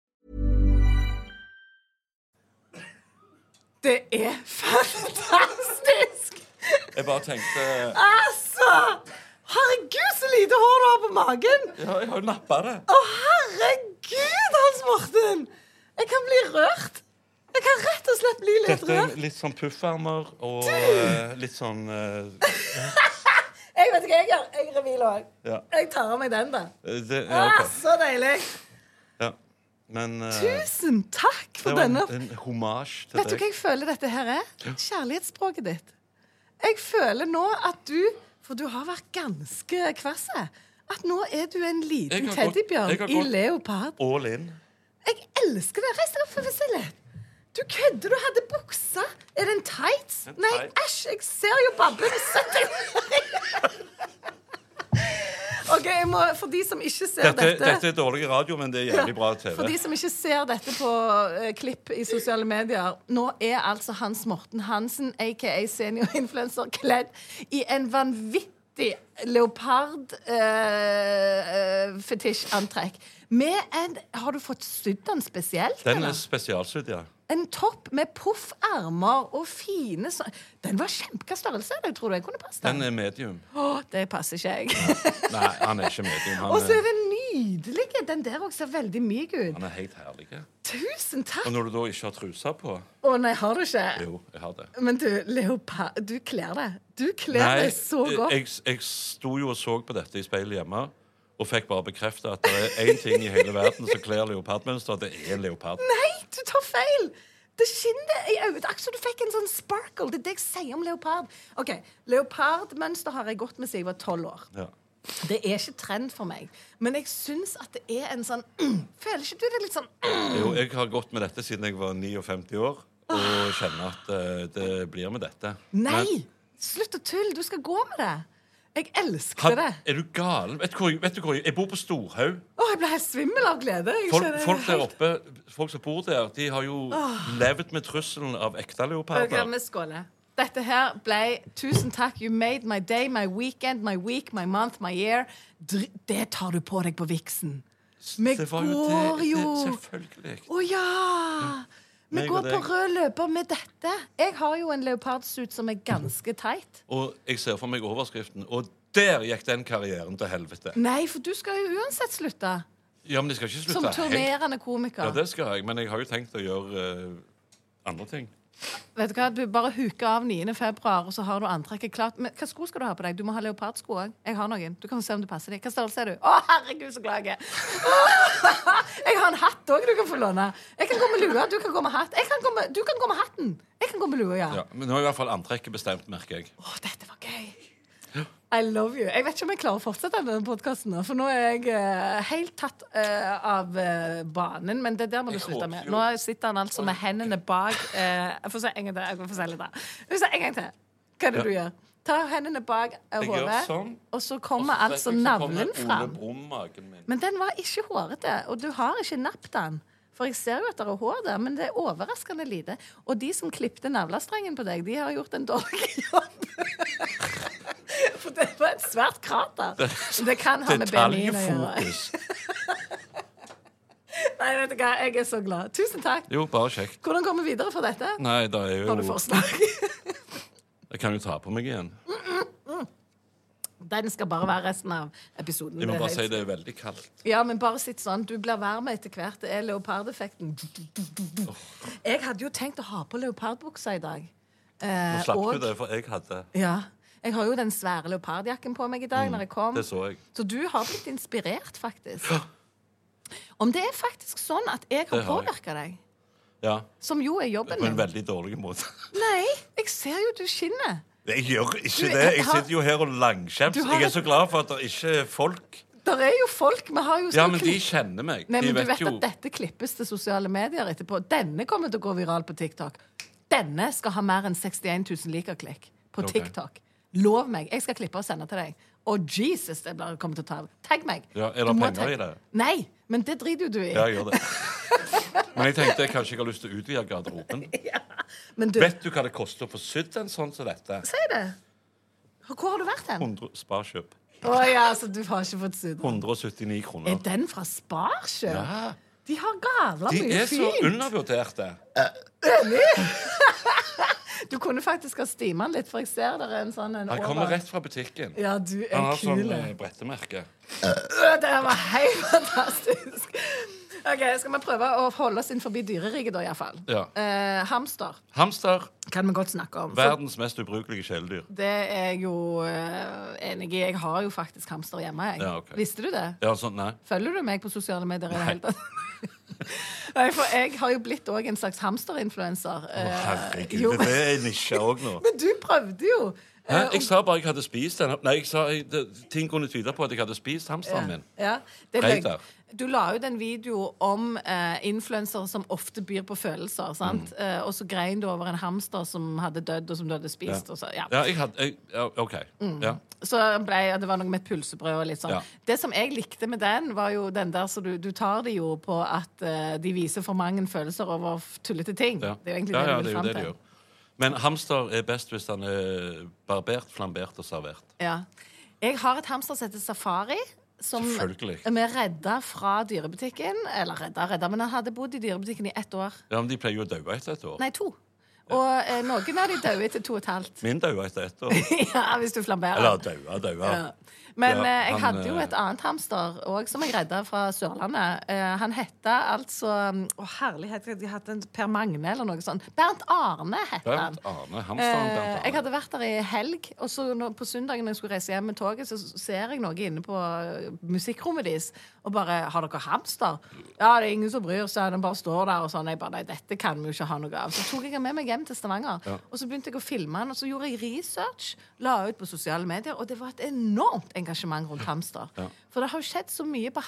S4: Det er fantastisk!
S3: Jeg bare tenkte Ja,
S4: Altså! Herregud, så lite hår du har på magen!
S3: jeg har jo nappa det.
S4: Å, herregud, Hans Morten! Jeg kan bli rørt. Jeg kan rett og slett bli litt
S3: Dette er
S4: rørt.
S3: litt sånn puffermer og eh, litt sånn eh,
S4: Jeg vet ikke hva jeg gjør. Jeg reviler òg.
S3: Ja.
S4: Jeg tar av meg den, da.
S3: det, ja,
S4: Ah,
S3: ok.
S4: så deilig!
S3: ja. Men eh,
S4: Tusen takk
S3: det
S4: for
S3: var en,
S4: denne.
S3: en hommage til
S4: Vet du hva
S3: deg.
S4: jeg føler dette her er? Kjærlighetsspråket ditt. Jeg føler nå at du For du har vært ganske kvass. At nå er du en
S3: Jeg
S4: liten
S3: har gått- jeg har
S4: teddybjørn i
S3: gått-
S4: leopard.
S3: All in.
S4: Jeg elsker det. Reis deg opp for å se litt. Du kødder. Du hadde buksa. Er det en tights?
S3: En
S4: Nei,
S3: tights.
S4: æsj. Jeg ser jo babben. Sett deg ned. OK, jeg må, for de som ikke ser
S3: Dette,
S4: dette,
S3: dette er dårlig radio, men det er jævlig bra TV.
S4: For de som ikke ser dette på eh, klipp i sosiale medier, nå er altså Hans Morten Hansen, aka seniorinfluenser, kledd i en vanvittig leopardfetisjantrekk. med en Har du fått sydd den spesielt?
S3: Den
S4: eller?
S3: er spesialsydd, ja.
S4: En topp med poffermer og fine så Den var kjempeka størrelse. Jeg tror du jeg kunne passet
S3: Den
S4: den.
S3: er medium.
S4: Åh, det passer ikke jeg.
S3: Nei, han er ikke medium.
S4: og
S3: Han
S4: så
S3: er,
S4: er den nydelig. Den der også ser veldig myk ut.
S3: han er helt herlig.
S4: Tusen
S3: Og
S4: takk!
S3: når du da ikke har trusa på
S4: Å nei, har du ikke?
S3: Jo, jeg har det.
S4: Men du, leopard Du kler det. Du kler
S3: Nei,
S4: det så godt.
S3: jeg, jeg sto jo og så på dette i speilet hjemme. Og fikk bare bekrefta at det er én ting i hele verden som kler leopardmønster, og det er leopard.
S4: Nei, du tar feil! Det skinner i øynene. Akkurat som du fikk en sånn sparkle. Det er det jeg sier om leopard. Ok, Leopardmønster har jeg gått med siden jeg var tolv år.
S3: Ja.
S4: Det er ikke trend for meg. Men jeg syns at det er en sånn Føler ikke du det er litt sånn
S3: Jo, jeg har gått med dette siden jeg var 59 år, og kjenner at eh, det blir med dette.
S4: Ah! Nei!
S3: Men-
S4: Slutt å tulle! Du skal gå med det. Jeg
S3: Had-
S4: elsker det.
S3: er du gal? Vet du hvor, jeg- vet du hvor jeg, jeg bor på Storhaug.
S4: Å, jeg ble helt svimmel av glede. Jeg
S3: Folk,
S4: kjenner
S3: folk der
S4: helt- Ah!
S3: oppe, folk som bor der, de har jo levd med trusselen av ekte
S4: Ok,
S3: leoparder.
S4: vi skåler. Dette her ble Tusen takk. You made my day, my weekend, my week, my month, my year. Dr det tar du på deg på viksen. Vi
S3: Det var jo
S4: går
S3: det-
S4: jo
S3: det- Selvfølgelig.
S4: Å ja! Vi
S3: Meg og
S4: går på
S3: deg.
S4: rød løper med dette. Jeg har jo en leopardsuit som er ganske teit.
S3: Og jeg ser for meg overskriften. Og der gikk den karrieren til helvete.
S4: Nei, for du skal jo uansett slutte.
S3: Ja, men jeg skal ikke
S4: Som
S3: slutte helt.
S4: turnerende komiker.
S3: Ja, det skal jeg, men jeg har jo tenkt å gjøre eh, andre ting.
S4: Vet Du hva, du bare huker av 9. februar, og så har du antrekket klart. Men hva sko skal du ha på deg? Du må ha leopardsko òg. Jeg har noen. Du kan få se om du passer dem. Hva størrelse er du? Å, herregud, så glad jeg er! jeg har en hatt òg du kan få låne. Jeg kan gå med lua, du kan gå med hatt. Jeg kan gå med, du kan gå med hatten. Jeg kan gå med lua, ja.
S3: Ja, men nå er i hvert fall antrekket bestemt, merker jeg.
S4: Å, dette var gøy. I love you. Jeg vet ikke om jeg klarer å fortsette denne podkasten, for nå er jeg eh, helt tatt eh, av eh, banen. Men det der må du
S3: Jeg
S4: slutte
S3: håper
S4: med.
S3: jo-
S4: Nå sitter han altså med hendene bak eh, Jeg får se en gang til. Jeg må få se litt der. Jeg får se en gang til. Hva er det du gjør? Ta hendene bak eh,
S3: Jeg gjør
S4: hodet,
S3: sånn,
S4: og så kommer
S3: Og så
S4: altså
S3: trekker jeg- så kommer
S4: navlen fram.
S3: Ole Brumm-magen min.
S4: Men den var ikke hårete, og du har ikke nappet den. For jeg ser jo at det er hår der, men det er overraskende lite. Og de som klipte navlestrengen på deg, de har gjort en dårlig jobb. For det var et svært krater. Men Det kan ha med BMI-en å gjøre.
S3: Detaljfokus.
S4: Nei, vet du hva, jeg er så glad. Tusen takk.
S3: Jo, bare kjekt.
S4: Hvordan går vi videre fra dette?
S3: Nei, da er
S4: Har du
S3: jo
S4: forslag?
S3: Jeg kan jo ta på meg igjen.
S4: Mm. Den skal bare være resten av episoden.
S3: Jeg må
S4: Det er
S3: bare
S4: helt-
S3: si det er veldig kaldt.
S4: Ja, men bare sitt sånn. Du blir varm etter hvert. Det er leopardeffekten. Jeg hadde jo tenkt å ha på leopardbuksa i dag. Eh,
S3: Nå slapp
S4: og-
S3: du det, for jeg hadde
S4: Ja. Jeg har jo den svære leopardjakken på meg i dag. når jeg kom.
S3: Mm, Det så jeg.
S4: Så du har blitt inspirert, faktisk. Om det er faktisk sånn at jeg har
S3: Det har jeg.
S4: påvirka deg,
S3: Ja,
S4: som jo er jobben
S3: På en
S4: min
S3: veldig dårlig måte.
S4: Nei, jeg ser jo du skinner.
S3: Jeg gjør ikke
S4: Du,
S3: det. Jeg
S4: har-
S3: sitter jo her og langskjems.
S4: Du har
S3: Jeg er
S4: et-
S3: så glad for at det ikke er folk
S4: Der er jo folk. Vi har jo sånn
S3: Ja,
S4: skal
S3: men de
S4: klippe-
S3: kjenner meg.
S4: Nei,
S3: De
S4: men du
S3: vet
S4: vet
S3: jo
S4: at dette klippes til sosiale medier etterpå. Denne kommer til å gå viral på TikTok. Denne skal ha mer enn 61 000 liker-klikk på
S3: Ok.
S4: TikTok. Lov meg. Jeg skal klippe og sende til deg. Og Jesus, det blir- kommer til å ta av. Tagg meg.
S3: Ja, er det
S4: Du må
S3: penger
S4: tagge-
S3: i det?
S4: Nei, men det driter jo du i.
S3: Ja, jeg gjør det. Men jeg tenkte jeg kanskje jeg har lyst til å utvide garderoben.
S4: Men du,
S3: Vet du hva det koster å få sydd en sånn som dette?
S4: si det. Hvor har du vært hen?
S3: 100 Sparkjøp.
S4: Å ja, så du har ikke fått sydd den.
S3: 179
S4: Er
S3: kroner.
S4: den fra Sparsjø?
S3: Ja.
S4: De har gavla
S3: De
S4: mye
S3: er så
S4: fint.
S3: undervurderte.
S4: Du kunne faktisk ha stima den litt, for jeg ser der er en sånn en
S3: Han
S4: over.
S3: kommer rett fra butikken.
S4: Ja, du
S3: Han
S4: er
S3: har sånn
S4: kul.
S3: eh, brettemerke.
S4: Det her var helt fantastisk. Ok, Skal vi prøve å holde oss inn forbi dyreriket, da, iallfall?
S3: Ja.
S4: Eh, hamster
S3: Hamster.
S4: kan vi godt snakke om. For
S3: Verdens mest ubrukelige kjæledyr.
S4: det er jeg jo eh, enig i. Jeg har jo faktisk hamster hjemme. Jeg.
S3: Ja, ok.
S4: Visste du det?
S3: Ja, sånn, nei.
S4: Følger du meg på sosiale medier? i det hele tatt? Nei, for jeg har jo blitt òg en slags hamsterinfluenser. Eh, jo.
S3: Herregud, det er nisje òg nå.
S4: Men du prøvde jo. eh,
S3: Hæ? Jeg sa bare jeg hadde spist den. Nei, jeg sa, jeg, det, ting kunne tyde på at jeg hadde spist hamsteren min.
S4: Ja, det er
S3: Reit
S4: løgn.
S3: der.
S4: Du la ut en video om eh, influensere som ofte byr på følelser. sant?
S3: Mm.
S4: Eh, og så grein du over en hamster som hadde dødd, og som du hadde spist. Og så, ja.
S3: Ja, jeg hadde jeg, ja, OK.
S4: Mm.
S3: Ja.
S4: så ble, ja, det var noe med et pulsebrød og litt sånn.
S3: Ja.
S4: Det som jeg likte med den, var jo den der så du, du tar det jo på at eh, de viser for mange følelser over f- tullete ting.
S3: Ja.
S4: Det er jo egentlig
S3: ja, ja,
S4: det du
S3: det er
S4: vil
S3: jo
S4: fram
S3: det de
S4: til.
S3: gjør. Men hamster er best hvis den er barbert, flambert og servert.
S4: Ja. Jeg har et hamster som heter Safari. Som vi
S3: Selvfølgelig.
S4: redda fra dyrebutikken. Eller redda, redda, men han hadde bodd i dyrebutikken i ett år.
S3: Ja, men De pleier jo å daue etter et år.
S4: Nei, to. Og eh, noen av de døde etter to og et halvt.
S3: Min daua etter ett år.
S4: ja, hvis du flamberer.
S3: Eller daua, daua.
S4: Ja. Men
S3: Ja,
S4: eh, jeg
S3: han,
S4: hadde jo
S3: eh,
S4: et annet hamster òg som jeg redda fra Sørlandet. Eh, han hette altså mm, Å, herlighet, jeg hadde en Per Magne eller noe sånt. Bernt Arne het han.
S3: Bernt Arne. Hamsteren
S4: Eh, jeg
S3: Bernt Arne.
S4: hadde vært der i helg, og så nå, på søndagen når jeg skulle reise hjem med toget, så ser jeg noe inne på eh, musikkrommet deres, og bare 'Har dere hamster?' 'Ja, det er ingen som bryr seg, den bare står der', og sånn. Jeg bare 'Nei, dette kan vi jo ikke ha noe av'. Så tok jeg den med meg hjem til Stavanger, og så begynte jeg å filme den, og så gjorde jeg research, la ut på sosiale medier, og det var et enormt engasjement rundt hamster. For det har jo skjedd så mye på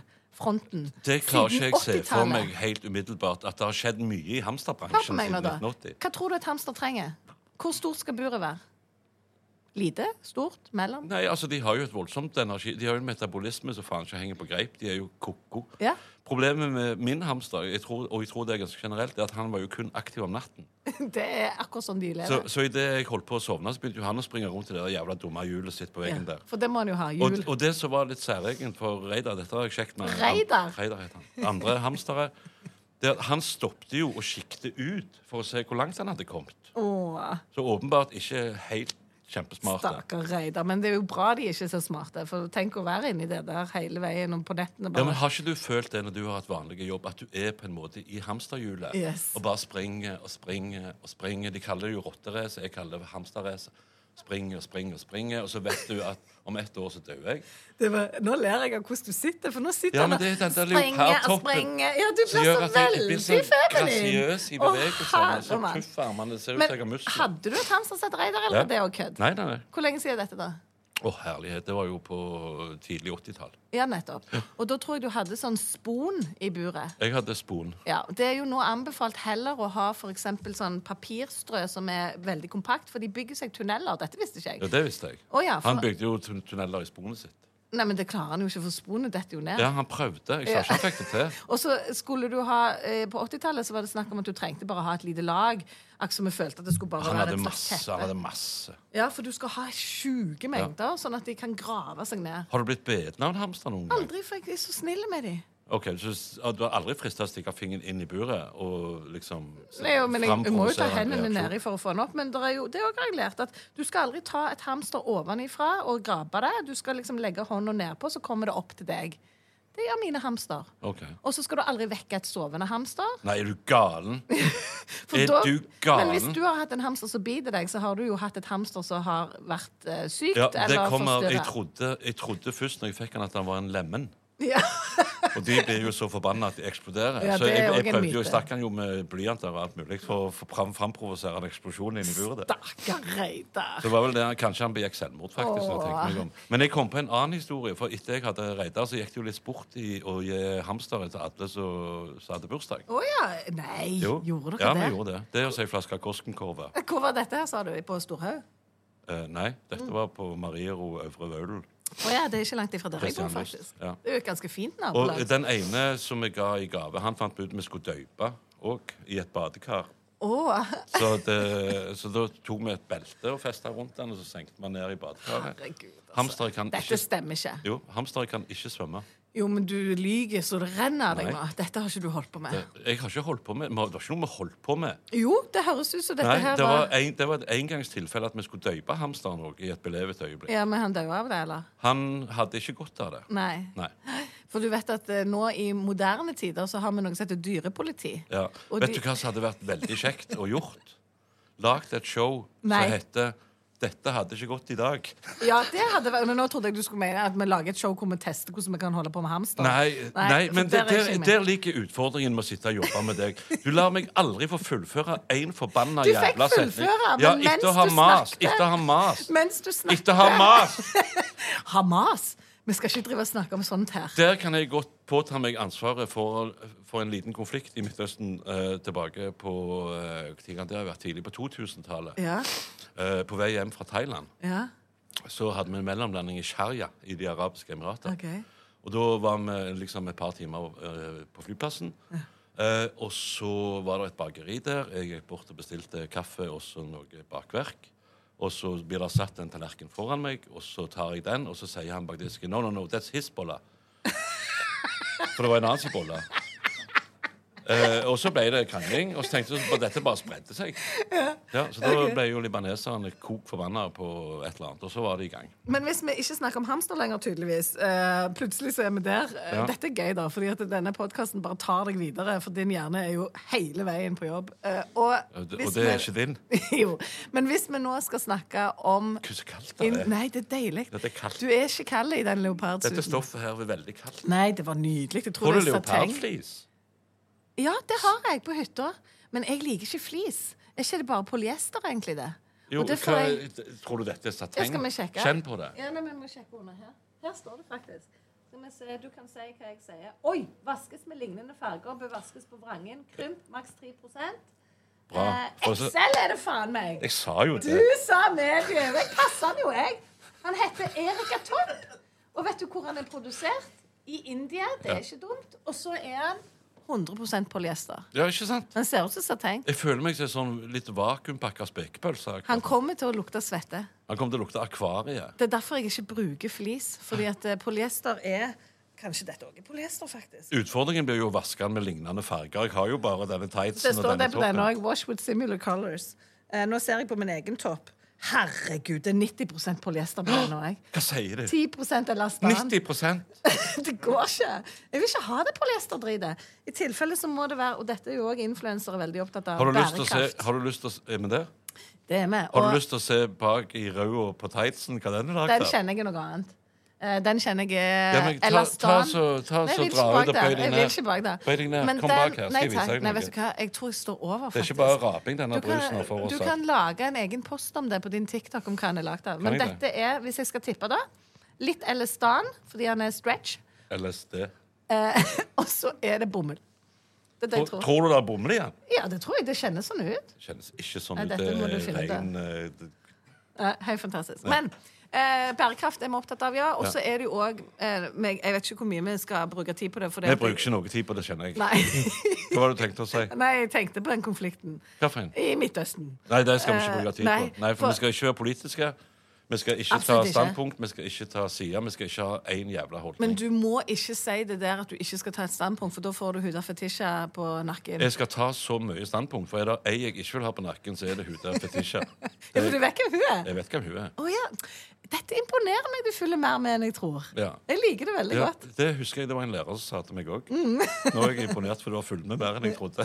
S4: hamsterhold-fronten
S3: Det klarer ikke
S4: siden
S3: jeg se for
S4: 80-tallet.
S3: meg helt umiddelbart at det har skjedd mye i
S4: Hør
S3: hamsterbransjen
S4: på meg
S3: siden
S4: nå, da.
S3: 1980.
S4: Hva tror du et hamster trenger? Hvor stort skal buret være? Lite? Stort? Mellom?
S3: Nei, altså, De har jo et voldsomt energi. De har jo en metabolisme som faen ikke henger på greip. De er jo ko-ko.
S4: Ja.
S3: Problemet med min hamster, jeg tror, og jeg tror det er ganske generelt, er at han var jo kun aktiv om natten.
S4: Det er akkurat sånn de lever.
S3: Så, så idet jeg holdt på å sovne, så begynte jo han å springe rundt i det der jævla dumme hjulet sitt på
S4: ja.
S3: veggen der.
S4: For det må han jo ha.
S3: Og,
S4: Jul.
S3: og det som var litt særegent for Reidar Dette har jeg sjekket med
S4: Reidar?
S3: an- Reidar heter han. andre hamstere. Det, at han stoppte jo og skikte ut for å se hvor langt han hadde kommet.
S4: Åh,
S3: Så åpenbart ikke helt kjempesmart. da.
S4: stakkar Reidar. Men det er jo bra de ikke er så smarte. For tenk å være inni det der hele veien og på nettene.
S3: Ja,
S4: Bare.
S3: men Har ikke du følt det når du har hatt vanlig jobb, at du er på en måte i hamsterhjulet
S4: Yes.
S3: og bare springer og springer og springer? De kaller det jo rotterace, jeg kaller det hamsterrace. Springer og springer og springer, og så vet du at om ett år så dør jeg.
S4: Det var, nå ler jeg av hvordan du sitter, for nå sitter
S3: Ja, men
S4: han
S3: det er den der
S4: sprenger og
S3: leopardtoppen
S4: sprenger. Ja, du
S3: som
S4: blir
S3: gjør
S4: så
S3: at jeg- jeg blir
S4: veldig
S3: så
S4: feminin.
S3: grasiøs i
S4: Å,
S3: bevegelsene, så
S4: herre mann.
S3: tøff armene, det ser ut som jeg har
S4: Men
S3: muskler.
S4: hadde du et hamstersett, Reidar, eller
S3: Ja.
S4: var det òg kødd?
S3: Nei, nei, nei.
S4: Hvor lenge siden er dette, da?
S3: Å, herlighet. Det var jo på tidlig 80-tall.
S4: Ja, nettopp. Og da tror jeg du hadde sånn spon i buret.
S3: Jeg hadde spon.
S4: Ja, Det er jo nå anbefalt heller å ha for eksempel sånn papirstrø som er veldig kompakt, for de bygger seg tunneler. Dette visste ikke
S3: Ja,
S4: jeg.
S3: det visste jeg.
S4: Å, ja, for-
S3: Han bygde jo tun tunneler i sponet sitt.
S4: Nei, men det klarer han jo ikke, for sponet detter jo ned.
S3: Ja, han prøvde. Jeg sa ikke han fikk det til.
S4: Og så skulle du ha, eh, På 80-tallet så var det snakk om at du trengte bare ha et lite lag. Akkurat som vi følte at det skulle bare
S3: Han
S4: være
S3: hadde
S4: et slags
S3: masse. Han
S4: teppe.
S3: hadde masse.
S4: Ja, For du skal ha sjuke mengder, sånn at de kan grave seg ned.
S3: Har du blitt beten av en hamster noen gang?
S4: Aldri, for jeg er så snill med de.
S3: Ok, så s- at Du har aldri frista å stikke fingeren inn i buret og liksom se-
S4: Nei, jo, men jeg, jeg må jo ta
S3: framprovosere en
S4: hendene
S3: reaksjon?
S4: nedi for å få den opp. Men det er jo, det er jo jeg lært at du skal aldri ta et hamster ovenifra og grabe det. Du skal liksom legge hånda nedpå, så kommer det opp til deg. Det gjør mine hamster.
S3: Ok.
S4: Og så skal du aldri vekke et sovende hamster.
S3: Nei, er du galen?
S4: For
S3: Er du
S4: Men hvis
S3: galen?
S4: du har hatt en hamster som biter deg, så har du jo hatt et hamster som har vært eh, sykt
S3: Ja, det
S4: eller
S3: kommer, jeg,
S4: forstyrra.
S3: trodde, jeg trodde først når jeg fikk han at han var en lemen.
S4: Ja.
S3: Og de blir jo så forbanna at de eksploderer.
S4: Ja,
S3: så
S4: det er
S3: jeg,
S4: også
S3: jeg
S4: en
S3: prøvde jo,
S4: myte.
S3: jeg stakk han jo med blyanter og alt mulig for å få fram, framprovosere en eksplosjon inni buret. der.
S4: Stakkar Reidar.
S3: Det var vel det, Kanskje han begikk selvmord, faktisk. når jeg
S4: Åh.
S3: tenker meg om. Men jeg kom på en annen historie. For etter jeg hadde Reidar, så gikk det jo litt sport i å gi hamstere til alle som som hadde bursdag.
S4: Å ja. Nei, gjorde dere
S3: ja,
S4: det?
S3: vi gjorde det. Det er å si flaske Korskenkorve.
S4: Hvor var dette her, sa du? På Storhaug?
S3: Eh, nei, dette
S4: Mm.
S3: var på Mariero Øvre Vaulen.
S4: Å ja, det er ikke langt ifra der jeg bor,
S3: Kristian Lyst,
S4: faktisk.
S3: ja.
S4: Det er jo et ganske fint
S3: Og
S4: nabolag.
S3: den ene som jeg ga i gave, han fant ut vi skulle døype òg, i et badekar.
S4: Åh,
S3: Så, det, så da tok vi et belte og festa rundt den, og så senkte vi den ned i badekaret.
S4: Herregud, altså.
S3: Hamstere kan
S4: Dette
S3: ikke
S4: stemmer ikke.
S3: jo, hamstere kan ikke svømme.
S4: Jo, men du lyver så det renner av deg
S3: Nei.
S4: nå. Dette har ikke du holdt på med.
S3: Jeg har ikke holdt på med, Det var ikke noe vi holdt på med.
S4: Jo, det høres ut som dette
S3: Nei,
S4: her
S3: Det
S4: var,
S3: var, en, det var et engangstilfelle at vi skulle døype hamsteren òg, i et belevet øyeblikk.
S4: Ja, men han døde av det, eller?
S3: Han hadde ikke godt av det.
S4: Nei. For du vet at eh, nå i moderne tider så har vi noe som heter dyrepoliti.
S3: Ja.
S4: Og
S3: Vet
S4: de-
S3: du hva som hadde vært veldig kjekt å gjort? Lagt et show
S4: Nei.
S3: som heter 'Dette hadde ikke gått i dag'.
S4: Ja, det hadde vært men Nå trodde jeg du skulle mene at vi lager et show hvor vi tester hvordan vi kan holde på med hamster.
S3: Nei, nei,
S4: for
S3: men der,
S4: er ikke
S3: der,
S4: jeg med.
S3: der ligger utfordringen med å sitte og jobbe med deg. Du lar meg aldri få fullføre én forbanna
S4: Du fikk
S3: jævla setning.
S4: fullføre, men
S3: ja,
S4: mens
S3: etter å ha
S4: du
S3: mas,
S4: snakket-
S3: Etter å ha mas.
S4: Mens du snakker
S3: Etter å ha mas!
S4: Hamas! Vi skal ikke drive og snakke om sånt her.
S3: Der kan jeg godt påta meg ansvaret for, for en liten konflikt i Midtøsten eh, tilbake på eh, ting at Det har vært tidlig på 2000-tallet.
S4: Ja,
S3: Eh, på vei hjem fra Thailand
S4: ja,
S3: så hadde vi en mellomlanding i Sharjah i De arabiske emirater.
S4: ok
S3: Og da var vi liksom et par timer eh, på flyplassen. Eh, og så var det et bakeri der. Jeg gikk bort og bestilte kaffe og så noe bakverk. Og så blir det satt en tallerken foran meg, og så tar jeg den, og så sier han bak disken No, no, no, that's his bolle. For det var en annen sin bolle. Eh, og så ble det krangling, og så tenkte vi at dette bare spredte seg. Ja, så da ble jo libaneserne kok forbanna på et eller annet, og så var det i gang.
S4: Men hvis vi ikke snakker om hamster lenger, tydeligvis eh, Plutselig så er vi der. Eh,
S3: Ja.
S4: Dette er gøy, da, fordi at denne podkasten bare tar deg videre. For din hjerne er jo hele veien på jobb. Eh, og,
S3: Og det,
S4: hvis
S3: og det er
S4: vi-
S3: ikke din.
S4: jo. Men hvis vi nå skal snakke om
S3: Hva så kaldt det
S4: inn-
S3: er.
S4: Nei, det er deilig.
S3: Dette er kaldt.
S4: Du er ikke kald i den
S3: Dette
S4: leopardsuiten.
S3: stoffet her er veldig kaldt.
S4: Nei, det var nydelig. Jeg tror
S3: Tror du
S4: det er sateng.
S3: leopardflis?
S4: Ja, det har jeg på hytta. Men jeg liker ikke flis. Er ikke det bare polyester, egentlig, det?
S3: Jo,
S4: Og det får
S3: hva,
S4: jeg-
S3: Tror du dette er
S4: Ja,
S3: sateng?
S4: skal vi sjekke?
S3: Kjenn på det.
S4: Ja, nei, men vi må sjekke under her. Her står det faktisk. Skal vi se, Du kan si hva jeg sier. Oi! Vaskes med lignende farger, bør vaskes på vrangen. Krymp maks 3
S3: Bra.
S4: eh,
S3: Og så-
S4: Excel er det faen meg!
S3: Jeg sa jo
S4: Du
S3: det.
S4: sa medium! Jeg passer han jo, jeg. Han heter Erika Topp. Og vet du hvor han er produsert? I India. Det er ikke dumt. Og så er han 100 polyester.
S3: Ja, ikke sant?
S4: Han ser ut som sateng.
S3: Jeg føler meg som en sånn litt vakuumpakka spekepølse. akkurat.
S4: Han kommer til å lukte svette.
S3: Han kommer til å lukte akvarie.
S4: Det er derfor jeg ikke bruker flis. Fordi at eh, polyester er Kanskje dette òg er polyester, faktisk.
S3: Utfordringen blir jo å vaske den med lignende farger. Jeg har jo bare denne
S4: Det
S3: tightsen og
S4: står
S3: denne
S4: det på
S3: toppen.
S4: denne òg. Wash with similar colors. Eh, nå ser jeg på min egen topp. Herregud, det er 90 polyester på den òg.
S3: Hva sier du?
S4: 10
S3: 90
S4: elastan. det går ikke. Jeg vil ikke ha det polyesterdritet. I tilfelle så må det være Og dette er jo òg influensere veldig opptatt av.
S3: har du, lyst til å se,
S4: bærekraft.
S3: har du lyst til å se er vi der?
S4: Det er vi.
S3: Har du
S4: Og
S3: lyst til å se bak i røda på tightsen hva den er
S4: den
S3: lagd av?
S4: kjenner jeg er noe annet. Eh, Den kjenner jeg er
S3: Ja, men ta-
S4: elastan.
S3: ta så- ta
S4: Nei, jeg
S3: så
S4: vil ikke
S3: dra
S4: bak
S3: ut og
S4: der.
S3: bøy deg
S4: Jeg vil
S3: ned.
S4: ikke bak der.
S3: Bøy deg ned.
S4: Men
S3: Kom
S4: den-
S3: bak her, skal
S4: nei,
S3: jeg vise
S4: takk.
S3: deg
S4: Nei,
S3: noe.
S4: vet du hva? Jeg tror jeg står over, faktisk.
S3: Det er ikke bare raping denne
S4: Du kan-
S3: brusen har
S4: Du
S3: forårsaket.
S4: kan lage en egen post om det på din TikTok om hva han er lagd av. Men
S3: jeg det?
S4: dette er, hvis jeg skal tippe, da, litt elastan, fordi han er stretch, eh,
S3: LSD.
S4: og så er det bomull. Det er det jeg
S3: Tror,
S4: tror.
S3: tror du det er bomull i den?
S4: Ja, det tror jeg. Det kjennes sånn ut.
S3: Det Kjennes ikke sånn
S4: Nei,
S3: ut.
S4: dette
S3: Det
S4: må du
S3: er
S4: finne ut av.
S3: rein eh, det-
S4: Eh, Helt fantastisk. Men eh, bærekraft er vi opptatt av, ja. Og så er det jo òg eh, meg- Jeg vet ikke hvor mye vi skal bruke tid på det. For det
S3: Vi bruker ikke noe tid på det, kjenner jeg.
S4: Nei.
S3: Hva var det du tenkte å si?
S4: Nei, jeg tenkte på den konflikten
S3: Hva for en?
S4: i Midtøsten.
S3: Nei, det skal vi ikke
S4: Eh,
S3: bruke tid
S4: nei,
S3: på. Nei, for,
S4: for-
S3: vi skal ikke være politiske. Vi skal ikke ta
S4: Absolutt ikke.
S3: standpunkt, vi skal ikke ta side, vi skal ikke ha én jævla
S4: Men
S3: holdning.
S4: du må ikke si det der at du ikke skal ta et standpunkt, for da får du hudafetisja på nakken.
S3: Jeg skal ta så mye standpunkt, for er det ei jeg ikke vil ha på nakken, så er det Huda Fetisha.
S4: Ja, for du vet hvem hun er?
S3: Jeg vet hvem hun er.
S4: Å ja. Dette imponerer meg. Du følger mer med enn jeg tror.
S3: Ja.
S4: Jeg liker det veldig
S3: Ja,
S4: godt.
S3: det Mm. husker jeg det var en lærer som sa til meg òg. Nå er jeg imponert, for du har fulgt med mer enn jeg trodde.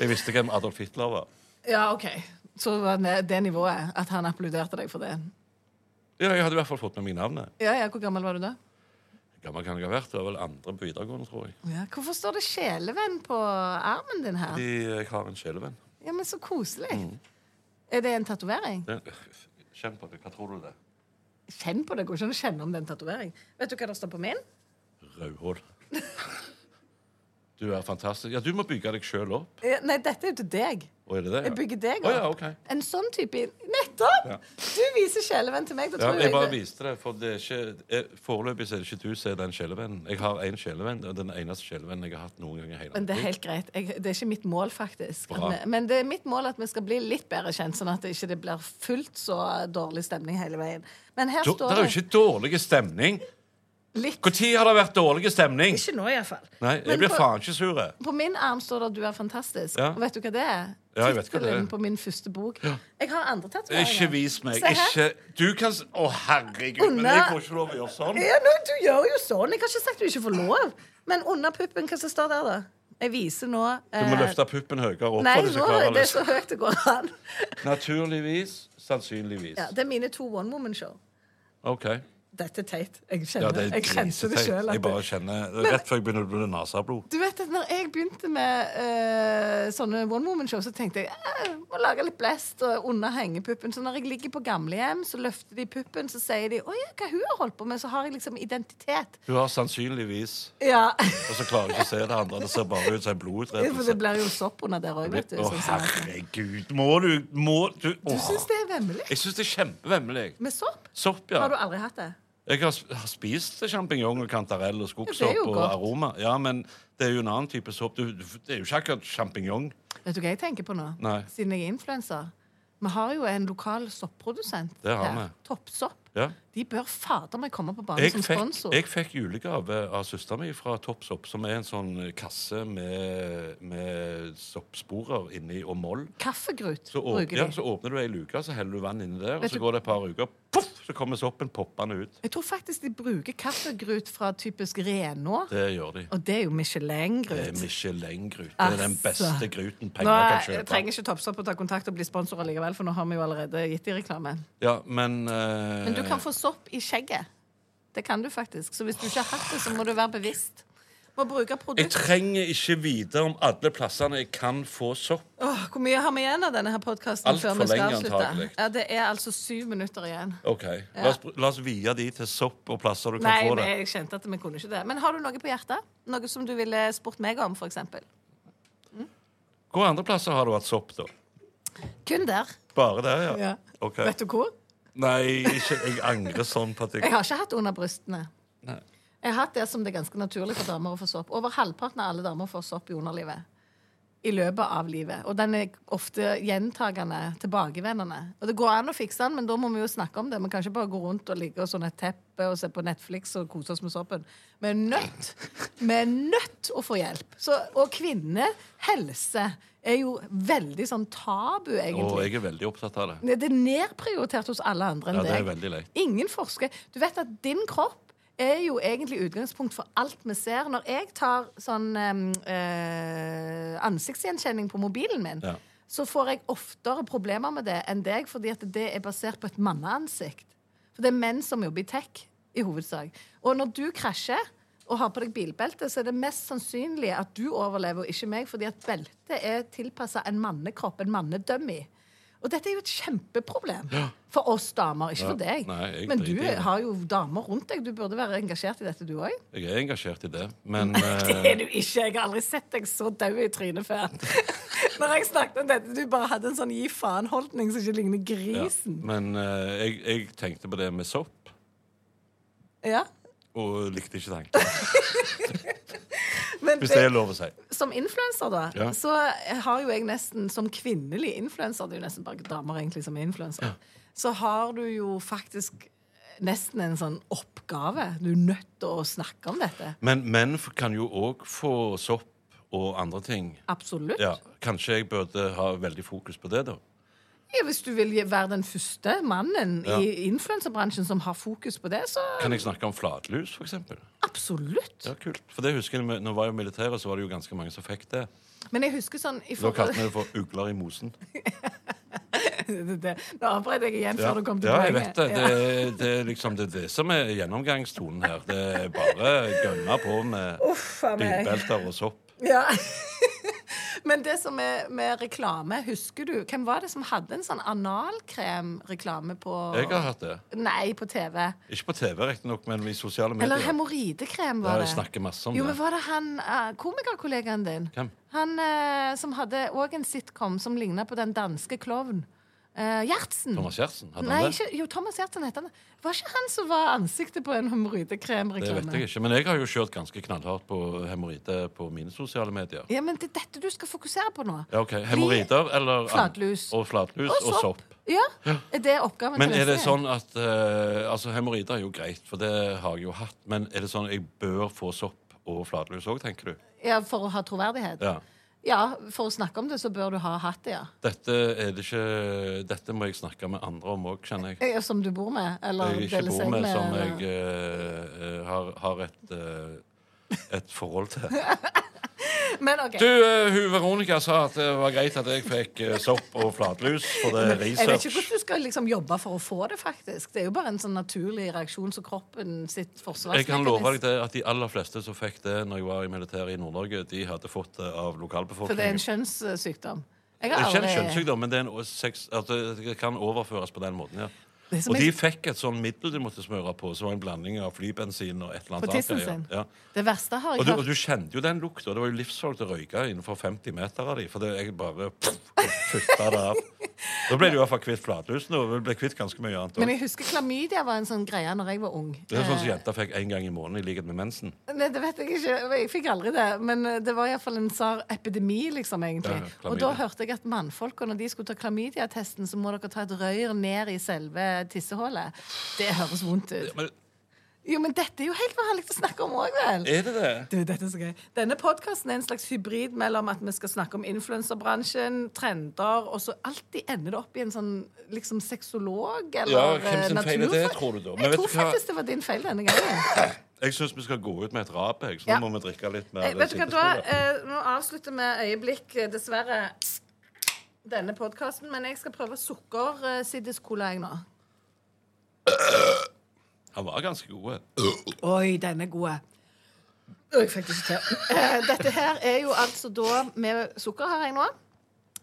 S3: Jeg visste hvem Adolf Hitler var.
S4: Ja, OK. Så var det det nivået at han applauderte deg for det.
S3: Ja, jeg hadde i hvert fall fått med meg navnet.
S4: Ja, ja, Hvor gammel var du da?
S3: Gammel kan jeg ha vært. Det var vel andre på videregående, tror jeg.
S4: Ja. Hvorfor står det 'sjelevenn' på armen din her?
S3: De, jeg har en sjelevenn.
S4: Ja, men Så koselig.
S3: Mm.
S4: Er det en tatovering?
S3: Det- Kjenn på det. Hva tror du det er?
S4: Kjenn på det. Går ikke an å kjenne om det er en tatovering. Vet du hva det står på min?
S3: Rødhål. Du er fantastisk. Ja, du må bygge deg sjøl opp.
S4: Ja, Nei, dette er jo til deg.
S3: Og er det det?
S4: Jeg bygger deg
S3: Å,
S4: opp.
S3: ja, ok.
S4: En sånn type Nettopp! Du viser sjelevenn til meg. Da
S3: Ja,
S4: tror
S3: jeg
S4: jeg
S3: bare
S4: det.
S3: viste det, for det er ikke, jeg, foreløpig så er det ikke du som er den sjelevennen. Jeg har én sjelevenn, og den eneste sjelevennen jeg har hatt noen gang i hele
S4: Men det er
S3: mitt liv.
S4: helt greit. Jeg, det er ikke mitt mål, faktisk. At
S3: Bra.
S4: vi, men det er mitt mål at vi skal bli litt bedre kjent, sånn at det ikke det blir fullt så dårlig stemning hele veien. Men her
S3: Da- Det
S4: står
S3: er jo ikke dårlig stemning!
S4: litt
S3: Når har det vært dårlig stemning?
S4: Ikke nå, iallfall.
S3: Nei,
S4: Men
S3: jeg blir
S4: på-
S3: faen ikke sur. jeg.
S4: På min arm står det at 'Du er fantastisk'.
S3: Ja.
S4: Og vet du hva det er?
S3: Ja, jeg vet hva det er.
S4: Tittelen på min første bok. Jeg har andre tatoveringer.
S3: Ikke vis meg.
S4: Se her.
S3: Ikke Du kan s- Å, herregud, men
S4: Under-
S3: jeg får ikke lov å gjøre sånn.
S4: Ja, nå, du gjør jo sånn. Jeg har ikke sagt du ikke får lov. Men under puppen, hva som står der, da? Jeg viser nå
S3: Du må
S4: eh,
S3: løfte puppen høyere opp.
S4: Nei,
S3: for du skal
S4: nå,
S3: klare å
S4: det er
S3: løse-
S4: så høyt det går an.
S3: Naturligvis. Sannsynligvis.
S4: Ja, det er mine to one woman-show.
S3: OK.
S4: Dette er teit. Jeg
S3: Ja,
S4: kjenner
S3: det
S4: det.
S3: er
S4: Jeg kjente det
S3: dritteit.
S4: sjøl.
S3: Jeg bare kjenner Rett før jeg begynner å bli nasablod.
S4: Du vet at når jeg begynte med eh, sånne one woman-show, så tenkte jeg eh, må lage litt blest og under hengepuppen. Så når jeg ligger på gamlehjem, så løfter de puppen, så sier de 'Å ja, hva hun har holdt på med', så har jeg liksom identitet.
S3: Hun har sannsynligvis
S4: Ja,
S3: Og så klarer jeg ikke å se det andre. Det ser bare ut som en
S4: For det
S3: blodutredelse.
S4: blir jo sopp under der òg, vet du.
S3: Å,
S4: sånn som-
S3: herregud. Må du Må du
S4: Du
S3: åh.
S4: syns det er vemmelig?
S3: Jeg syns det er kjempevemmelig.
S4: Med sopp?
S3: Sopp, ja.
S4: Har du aldri hatt det?
S3: Jeg har, s- har spist sjampinjong og kantarell og
S4: Ja, det er
S3: skogsopp
S4: jo
S3: og
S4: godt.
S3: aroma. Ja, men det er jo en annen type sopp. Du, du- det er jo ikke akkurat sjampinjong.
S4: Vet du hva jeg tenker på nå?
S3: Nei.
S4: Siden jeg er influenser. Vi har jo en lokal sopprodusent.
S3: Det har vi.
S4: her. Toppsopp.
S3: Ja.
S4: De bør fader meg komme på banen
S3: Jeg
S4: som
S3: fikk,
S4: sponsor.
S3: jeg fikk julegave av søstera mi fra Toppsopp, som er en sånn kasse med, med soppsporer inni og moll.
S4: Kaffegrut
S3: Så, åp,
S4: bruker de.
S3: ja, så åpner du ei luke, så heller du vann inni der, og
S4: Vet
S3: så
S4: du-
S3: går det et par uker, poff, så kommer soppen poppende ut.
S4: Jeg tror faktisk de bruker kaffegrut fra typisk Renå.
S3: Det gjør de.
S4: Og det er
S3: Det er
S4: jo Michelin-grut. Altså.
S3: Michelin-grut. Det er den beste gruten
S4: Nå,
S3: penger kan
S4: jeg
S3: kjøpe.
S4: trenger ikke Toppstopp å ta kontakt og bli sponsor likevel, for nå har vi jo allerede gitt de reklame.
S3: Ja, men eh,
S4: Men du kan få sopp i skjegget. Det kan du faktisk. Så hvis du ikke har hatt det, så må du være bevisst. Må bruke
S3: Jeg
S4: produkt.
S3: trenger ikke vite om alle plassene jeg kan få sopp.
S4: Åh, hvor mye har vi igjen av denne her podkasten
S3: Alt
S4: før
S3: for
S4: vi skal
S3: lenge,
S4: avslutte?
S3: antagelig.
S4: Ja, det er altså syv minutter igjen.
S3: OK. La oss, la oss vie de til sopp og plasser du kan
S4: Nei,
S3: få
S4: men
S3: det.
S4: jeg kjente at vi kunne ikke det. Men har du noe på hjertet? Noe som du ville spurt meg om, f.eks.?
S3: Hvor andre plasser har du hatt sopp, da?
S4: Kun der.
S3: Bare der, ja?
S4: Ja.
S3: Ok.
S4: Vet du hvor?
S3: Nei, ikke, jeg angrer sånn på at
S4: Jeg
S3: jeg
S4: har ikke hatt under brystene. Jeg har hatt det som det er ganske naturlig for damer å få sopp. Over halvparten av alle damer får sopp i underlivet. I løpet av livet. Og den er ofte gjentagende, tilbakevendende. Og det går an å fikse den, men da må vi jo snakke om det. Vi kan ikke bare gå rundt og ligge og sånn et teppe og se på Netflix og kose oss med soppen. Vi er nødt vi er nødt å få hjelp. Så, og kvinnehelse er jo veldig sånn tabu, egentlig.
S3: Og jeg er veldig opptatt av det.
S4: Nei, Det er nedprioritert hos alle andre
S3: Ja,
S4: enn
S3: det er
S4: deg.
S3: veldig leit.
S4: Ingen forsker. Du vet at din kropp er jo egentlig utgangspunkt for alt vi ser. Når jeg tar sånn em, eh, ansiktsgjenkjenning på mobilen min,
S3: Ja.
S4: så får jeg oftere problemer med det enn deg, fordi at det er basert på et manneansikt. For det er menn som jobber i tech, i hovedsak. Og når du krasjer og har på deg bilbelte, så er det mest sannsynlig at du overlever, og ikke meg, fordi at beltet er tilpassa en mannekropp, en mannedummy. Og dette er jo et kjempeproblem for oss damer, ikke for deg.
S3: Nei, jeg
S4: Men du
S3: driter i det.
S4: har jo damer rundt deg. Du burde være engasjert i dette, du òg.
S3: Jeg er engasjert i det, men
S4: Det
S3: eh,
S4: er du ikke. Jeg har aldri sett deg så daud i trynet før. Når jeg snakket om dette, du bare hadde en sånn gi faen-holdning som ikke ligner
S3: ja.
S4: grisen.
S3: Men eh, jeg, jeg tenkte på det med sopp,
S4: Ja.
S3: og likte ikke tanken.
S4: Men
S3: Hvis det er lov å si.
S4: som influenser, da,
S3: Ja.
S4: så har jo jeg nesten Som kvinnelig influenser, det er jo nesten bare damer egentlig som er influenser, så har du jo faktisk nesten en sånn oppgave. Du er nødt til å snakke om dette.
S3: Men menn f- kan jo òg få sopp og andre ting.
S4: Absolutt.
S3: Ja, Kanskje jeg burde ha veldig fokus på det, da.
S4: Ja, hvis du vil være den første mannen
S3: Ja.
S4: i influenserbransjen som har fokus på det, så
S3: Kan jeg snakke om flatlus, for eksempel?
S4: absolutt.
S3: Ja, kult. For det husker jeg, når jeg var i militæret, så var det jo ganske mange som fikk det.
S4: Men jeg husker sånn i
S3: Da kalte vi
S4: forhold...
S3: det for ugler i mosen.
S4: det, Nå avbrøt jeg igjen
S3: Ja,
S4: før du kom til
S3: ja jeg
S4: poenget.
S3: vet det.
S4: Ja.
S3: Det, er- det er liksom det, er det som er gjennomgangstonen her. Det er bare gønne på med
S4: a meg.
S3: bilbelter og sopp.
S4: Ja. Men det som er med reklame, husker du Hvem var det som hadde en sånn analkremreklame på
S3: Jeg har hatt det.
S4: Nei, på TV.
S3: Ikke på TV, riktignok, men i sosiale medier.
S4: Eller
S3: Ja,
S4: hemoroidekrem, var
S3: jeg
S4: det.
S3: snakker masse om
S4: jo,
S3: det.
S4: men var det han eh, komikerkollegaen din?
S3: Hvem?
S4: Han eh, som hadde òg en sitcom som ligna på den danske klovn. Eh, Gjertsen.
S3: Thomas Gjertsen, hadde
S4: Nei,
S3: han det?
S4: ikke, jo, Thomas Gjertsen heter han. Var ikke han som var ansiktet på en
S3: Det vet
S4: hemoroidekremreklame?
S3: jeg ikke. Men jeg har jo kjørt ganske knallhardt på hemoroider på mine sosiale medier.
S4: Ja, men det er dette du skal fokusere på nå.
S3: Ja, ok.
S4: Bli-
S3: Hemoroider eller
S4: Flatlus.
S3: Og flatlus og sopp.
S4: Ja, er det oppgaven
S3: Men
S4: til
S3: er det
S4: neste gang?
S3: sånn at eh, Altså, hemoroider er jo greit, for det har jeg jo hatt. Men er det sånn at jeg bør få sopp og flatlus òg, tenker du?
S4: Ja, For å ha troverdighet?
S3: Ja.
S4: Ja, for å snakke om det, så bør du ha hatt det, ja.
S3: Dette er det ikke Dette må jeg snakke med andre om òg, kjenner jeg.
S4: Eh, Som du bor med? Eller
S3: Jeg ikke
S4: deler
S3: bor
S4: seng
S3: med, som jeg
S4: eller-
S3: eh, eh, har, har et eh, et forhold til.
S4: Men OK.
S3: Du, eh, hun Veronica sa at det var greit at jeg fikk eh, sopp og flatlus, for det er
S4: jeg vet ikke
S3: research.
S4: hvordan du skal liksom jobbe for å få det, faktisk. Det er jo bare en sånn naturlig reaksjon som kroppen
S3: Jeg kan
S4: sitt
S3: love deg
S4: forsvarsmekanisme.
S3: det at De aller fleste som fikk det når jeg var i militæret i Nord-Norge, de hadde fått det av
S4: For det er en
S3: lokalbefolkningen.
S4: kjønnssykdom. Jeg
S3: Det er
S4: har
S3: ikke en
S4: aldri
S3: kjønnssykdom, men det, er en å- sex, at det det kan overføres på den måten. ja.
S4: Det er som
S3: Og de
S4: jeg-
S3: fikk et sånn middel de måtte smøre på, som var en blanding av flybensin og et eller
S4: På
S3: annet.
S4: tissen
S3: annet, ja.
S4: sin?
S3: Ja.
S4: Det verste har
S3: Og
S4: jeg
S3: du, og
S4: hørt.
S3: du kjente jo den lukta. Det var jo livsfarlig å røyke innenfor 50 meter av dem. For det, jeg bare pff, og futta det av. Da ble du i hvert fall kvitt flatlusen og ble kvitt ganske mye annet.
S4: Men
S3: også.
S4: jeg husker klamydia var en sånn greie når jeg var ung.
S3: Det er sånn som
S4: Eh,
S3: jenter fikk én gang i måneden i likhet med mensen.
S4: Nei, det vet jeg ikke. Jeg fikk aldri det. Men eh, det var iallfall en sar epidemi, liksom, egentlig.
S3: Ja, ja,
S4: og da
S3: klamydia.
S4: hørte jeg at mannfolka, når de skulle ta klamydiatesten, så må dere ta et røyr ned i selve tissehullet. Det høres vondt ut.
S3: Men
S4: Jo, men dette er jo helt vanlig å snakke om òg, vel?
S3: er det det?
S4: Du, dette er så gøy. Denne podkasten er en slags hybrid mellom at vi skal snakke om influenserbransjen, trender, og så alltid ender det opp i en sånn liksom sexolog eller
S3: Ja, hvem sin
S4: eh,
S3: feil er det,
S4: naturfag.
S3: tror du da? Men
S4: Jeg
S3: vet
S4: tror
S3: du hva?
S4: faktisk det var din feil denne gangen.
S3: Jeg syns vi skal gå ut med et rap, jeg, så
S4: Ja.
S3: nå må vi drikke litt mer.
S4: Eh, vet du hva, da,
S3: sikkerhetsbordet.
S4: eh, Nå avslutter vi øyeblikk, eh, dessverre, denne podkasten, men jeg skal prøve sukker-siddis-cola, jeg nå.
S3: Han var ganske god. eh.
S4: Oi, den er god. Jeg fikk det ikke til. Eh, Dette her er jo altså da med sukker har jeg nå.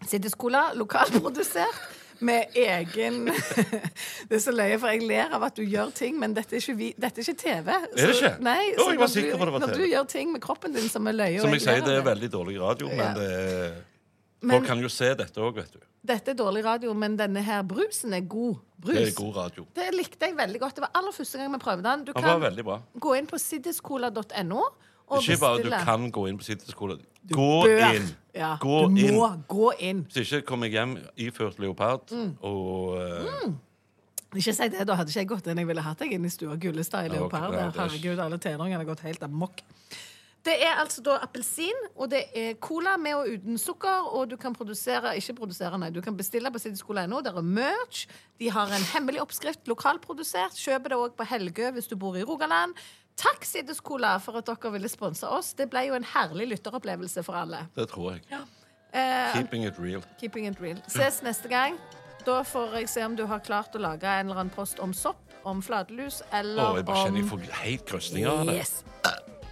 S4: Siddis Cola, lokalprodusert. Med egen Det er så løye, for jeg ler av at du gjør ting, men dette er ikke, vi, dette er ikke TV. Så,
S3: det ikke?
S4: Nei,
S3: Å, jeg
S4: så
S3: var
S4: når
S3: sikker på det var
S4: Når
S3: TV.
S4: du gjør ting med kroppen din som er løye og
S3: Som jeg
S4: ler
S3: sier,
S4: av
S3: det er
S4: det.
S3: veldig dårlig radio,
S4: Ja.
S3: men det er
S4: Men-
S3: Folk kan jo se dette òg, vet du.
S4: Dette er dårlig radio, men denne her brusen er god brus.
S3: Det er god radio.
S4: Det likte jeg veldig godt. Det var aller første gang vi prøvde den. Du
S3: Han
S4: kan
S3: var veldig bra.
S4: gå inn på siddiscola.no og
S3: Ikke bare du
S4: bestille.
S3: kan gå inn på sitteskole. Gå
S4: bør.
S3: inn!
S4: Ja,
S3: Gå
S4: du
S3: inn.
S4: må gå inn.
S3: Hvis ikke kommer jeg hjem iført leopard
S4: Mm.
S3: og eh,
S4: Ikke si det, da hadde ikke jeg gått inn. Jeg ville hatt deg inn i stua Gullestad i
S3: Ja, ok,
S4: leopard.
S3: ja,
S4: der.
S3: det er ikke-
S4: Herregud, alle tenåringene har gått helt amok. Det er altså da appelsin, og det er cola med og uten sukker, og du kan produsere Ikke produsere, nei. Du kan bestille på sideskola.no. Der er merch. De har en hemmelig oppskrift lokalprodusert. Kjøper det òg på Helgø hvis du bor i Rogaland. Takk, Sideskola, for at dere ville sponse oss. Det ble jo en herlig lytteropplevelse for alle.
S3: Det tror jeg.
S4: Eh,
S3: Keeping it real.
S4: Keeping it real. Ses neste gang. Da får jeg se om du har klart å lage en eller annen post om sopp, om flatlus
S3: Å,
S4: eller
S3: jeg bare kjenner jeg
S4: om
S3: får helt krøsninger av det.
S4: Yes.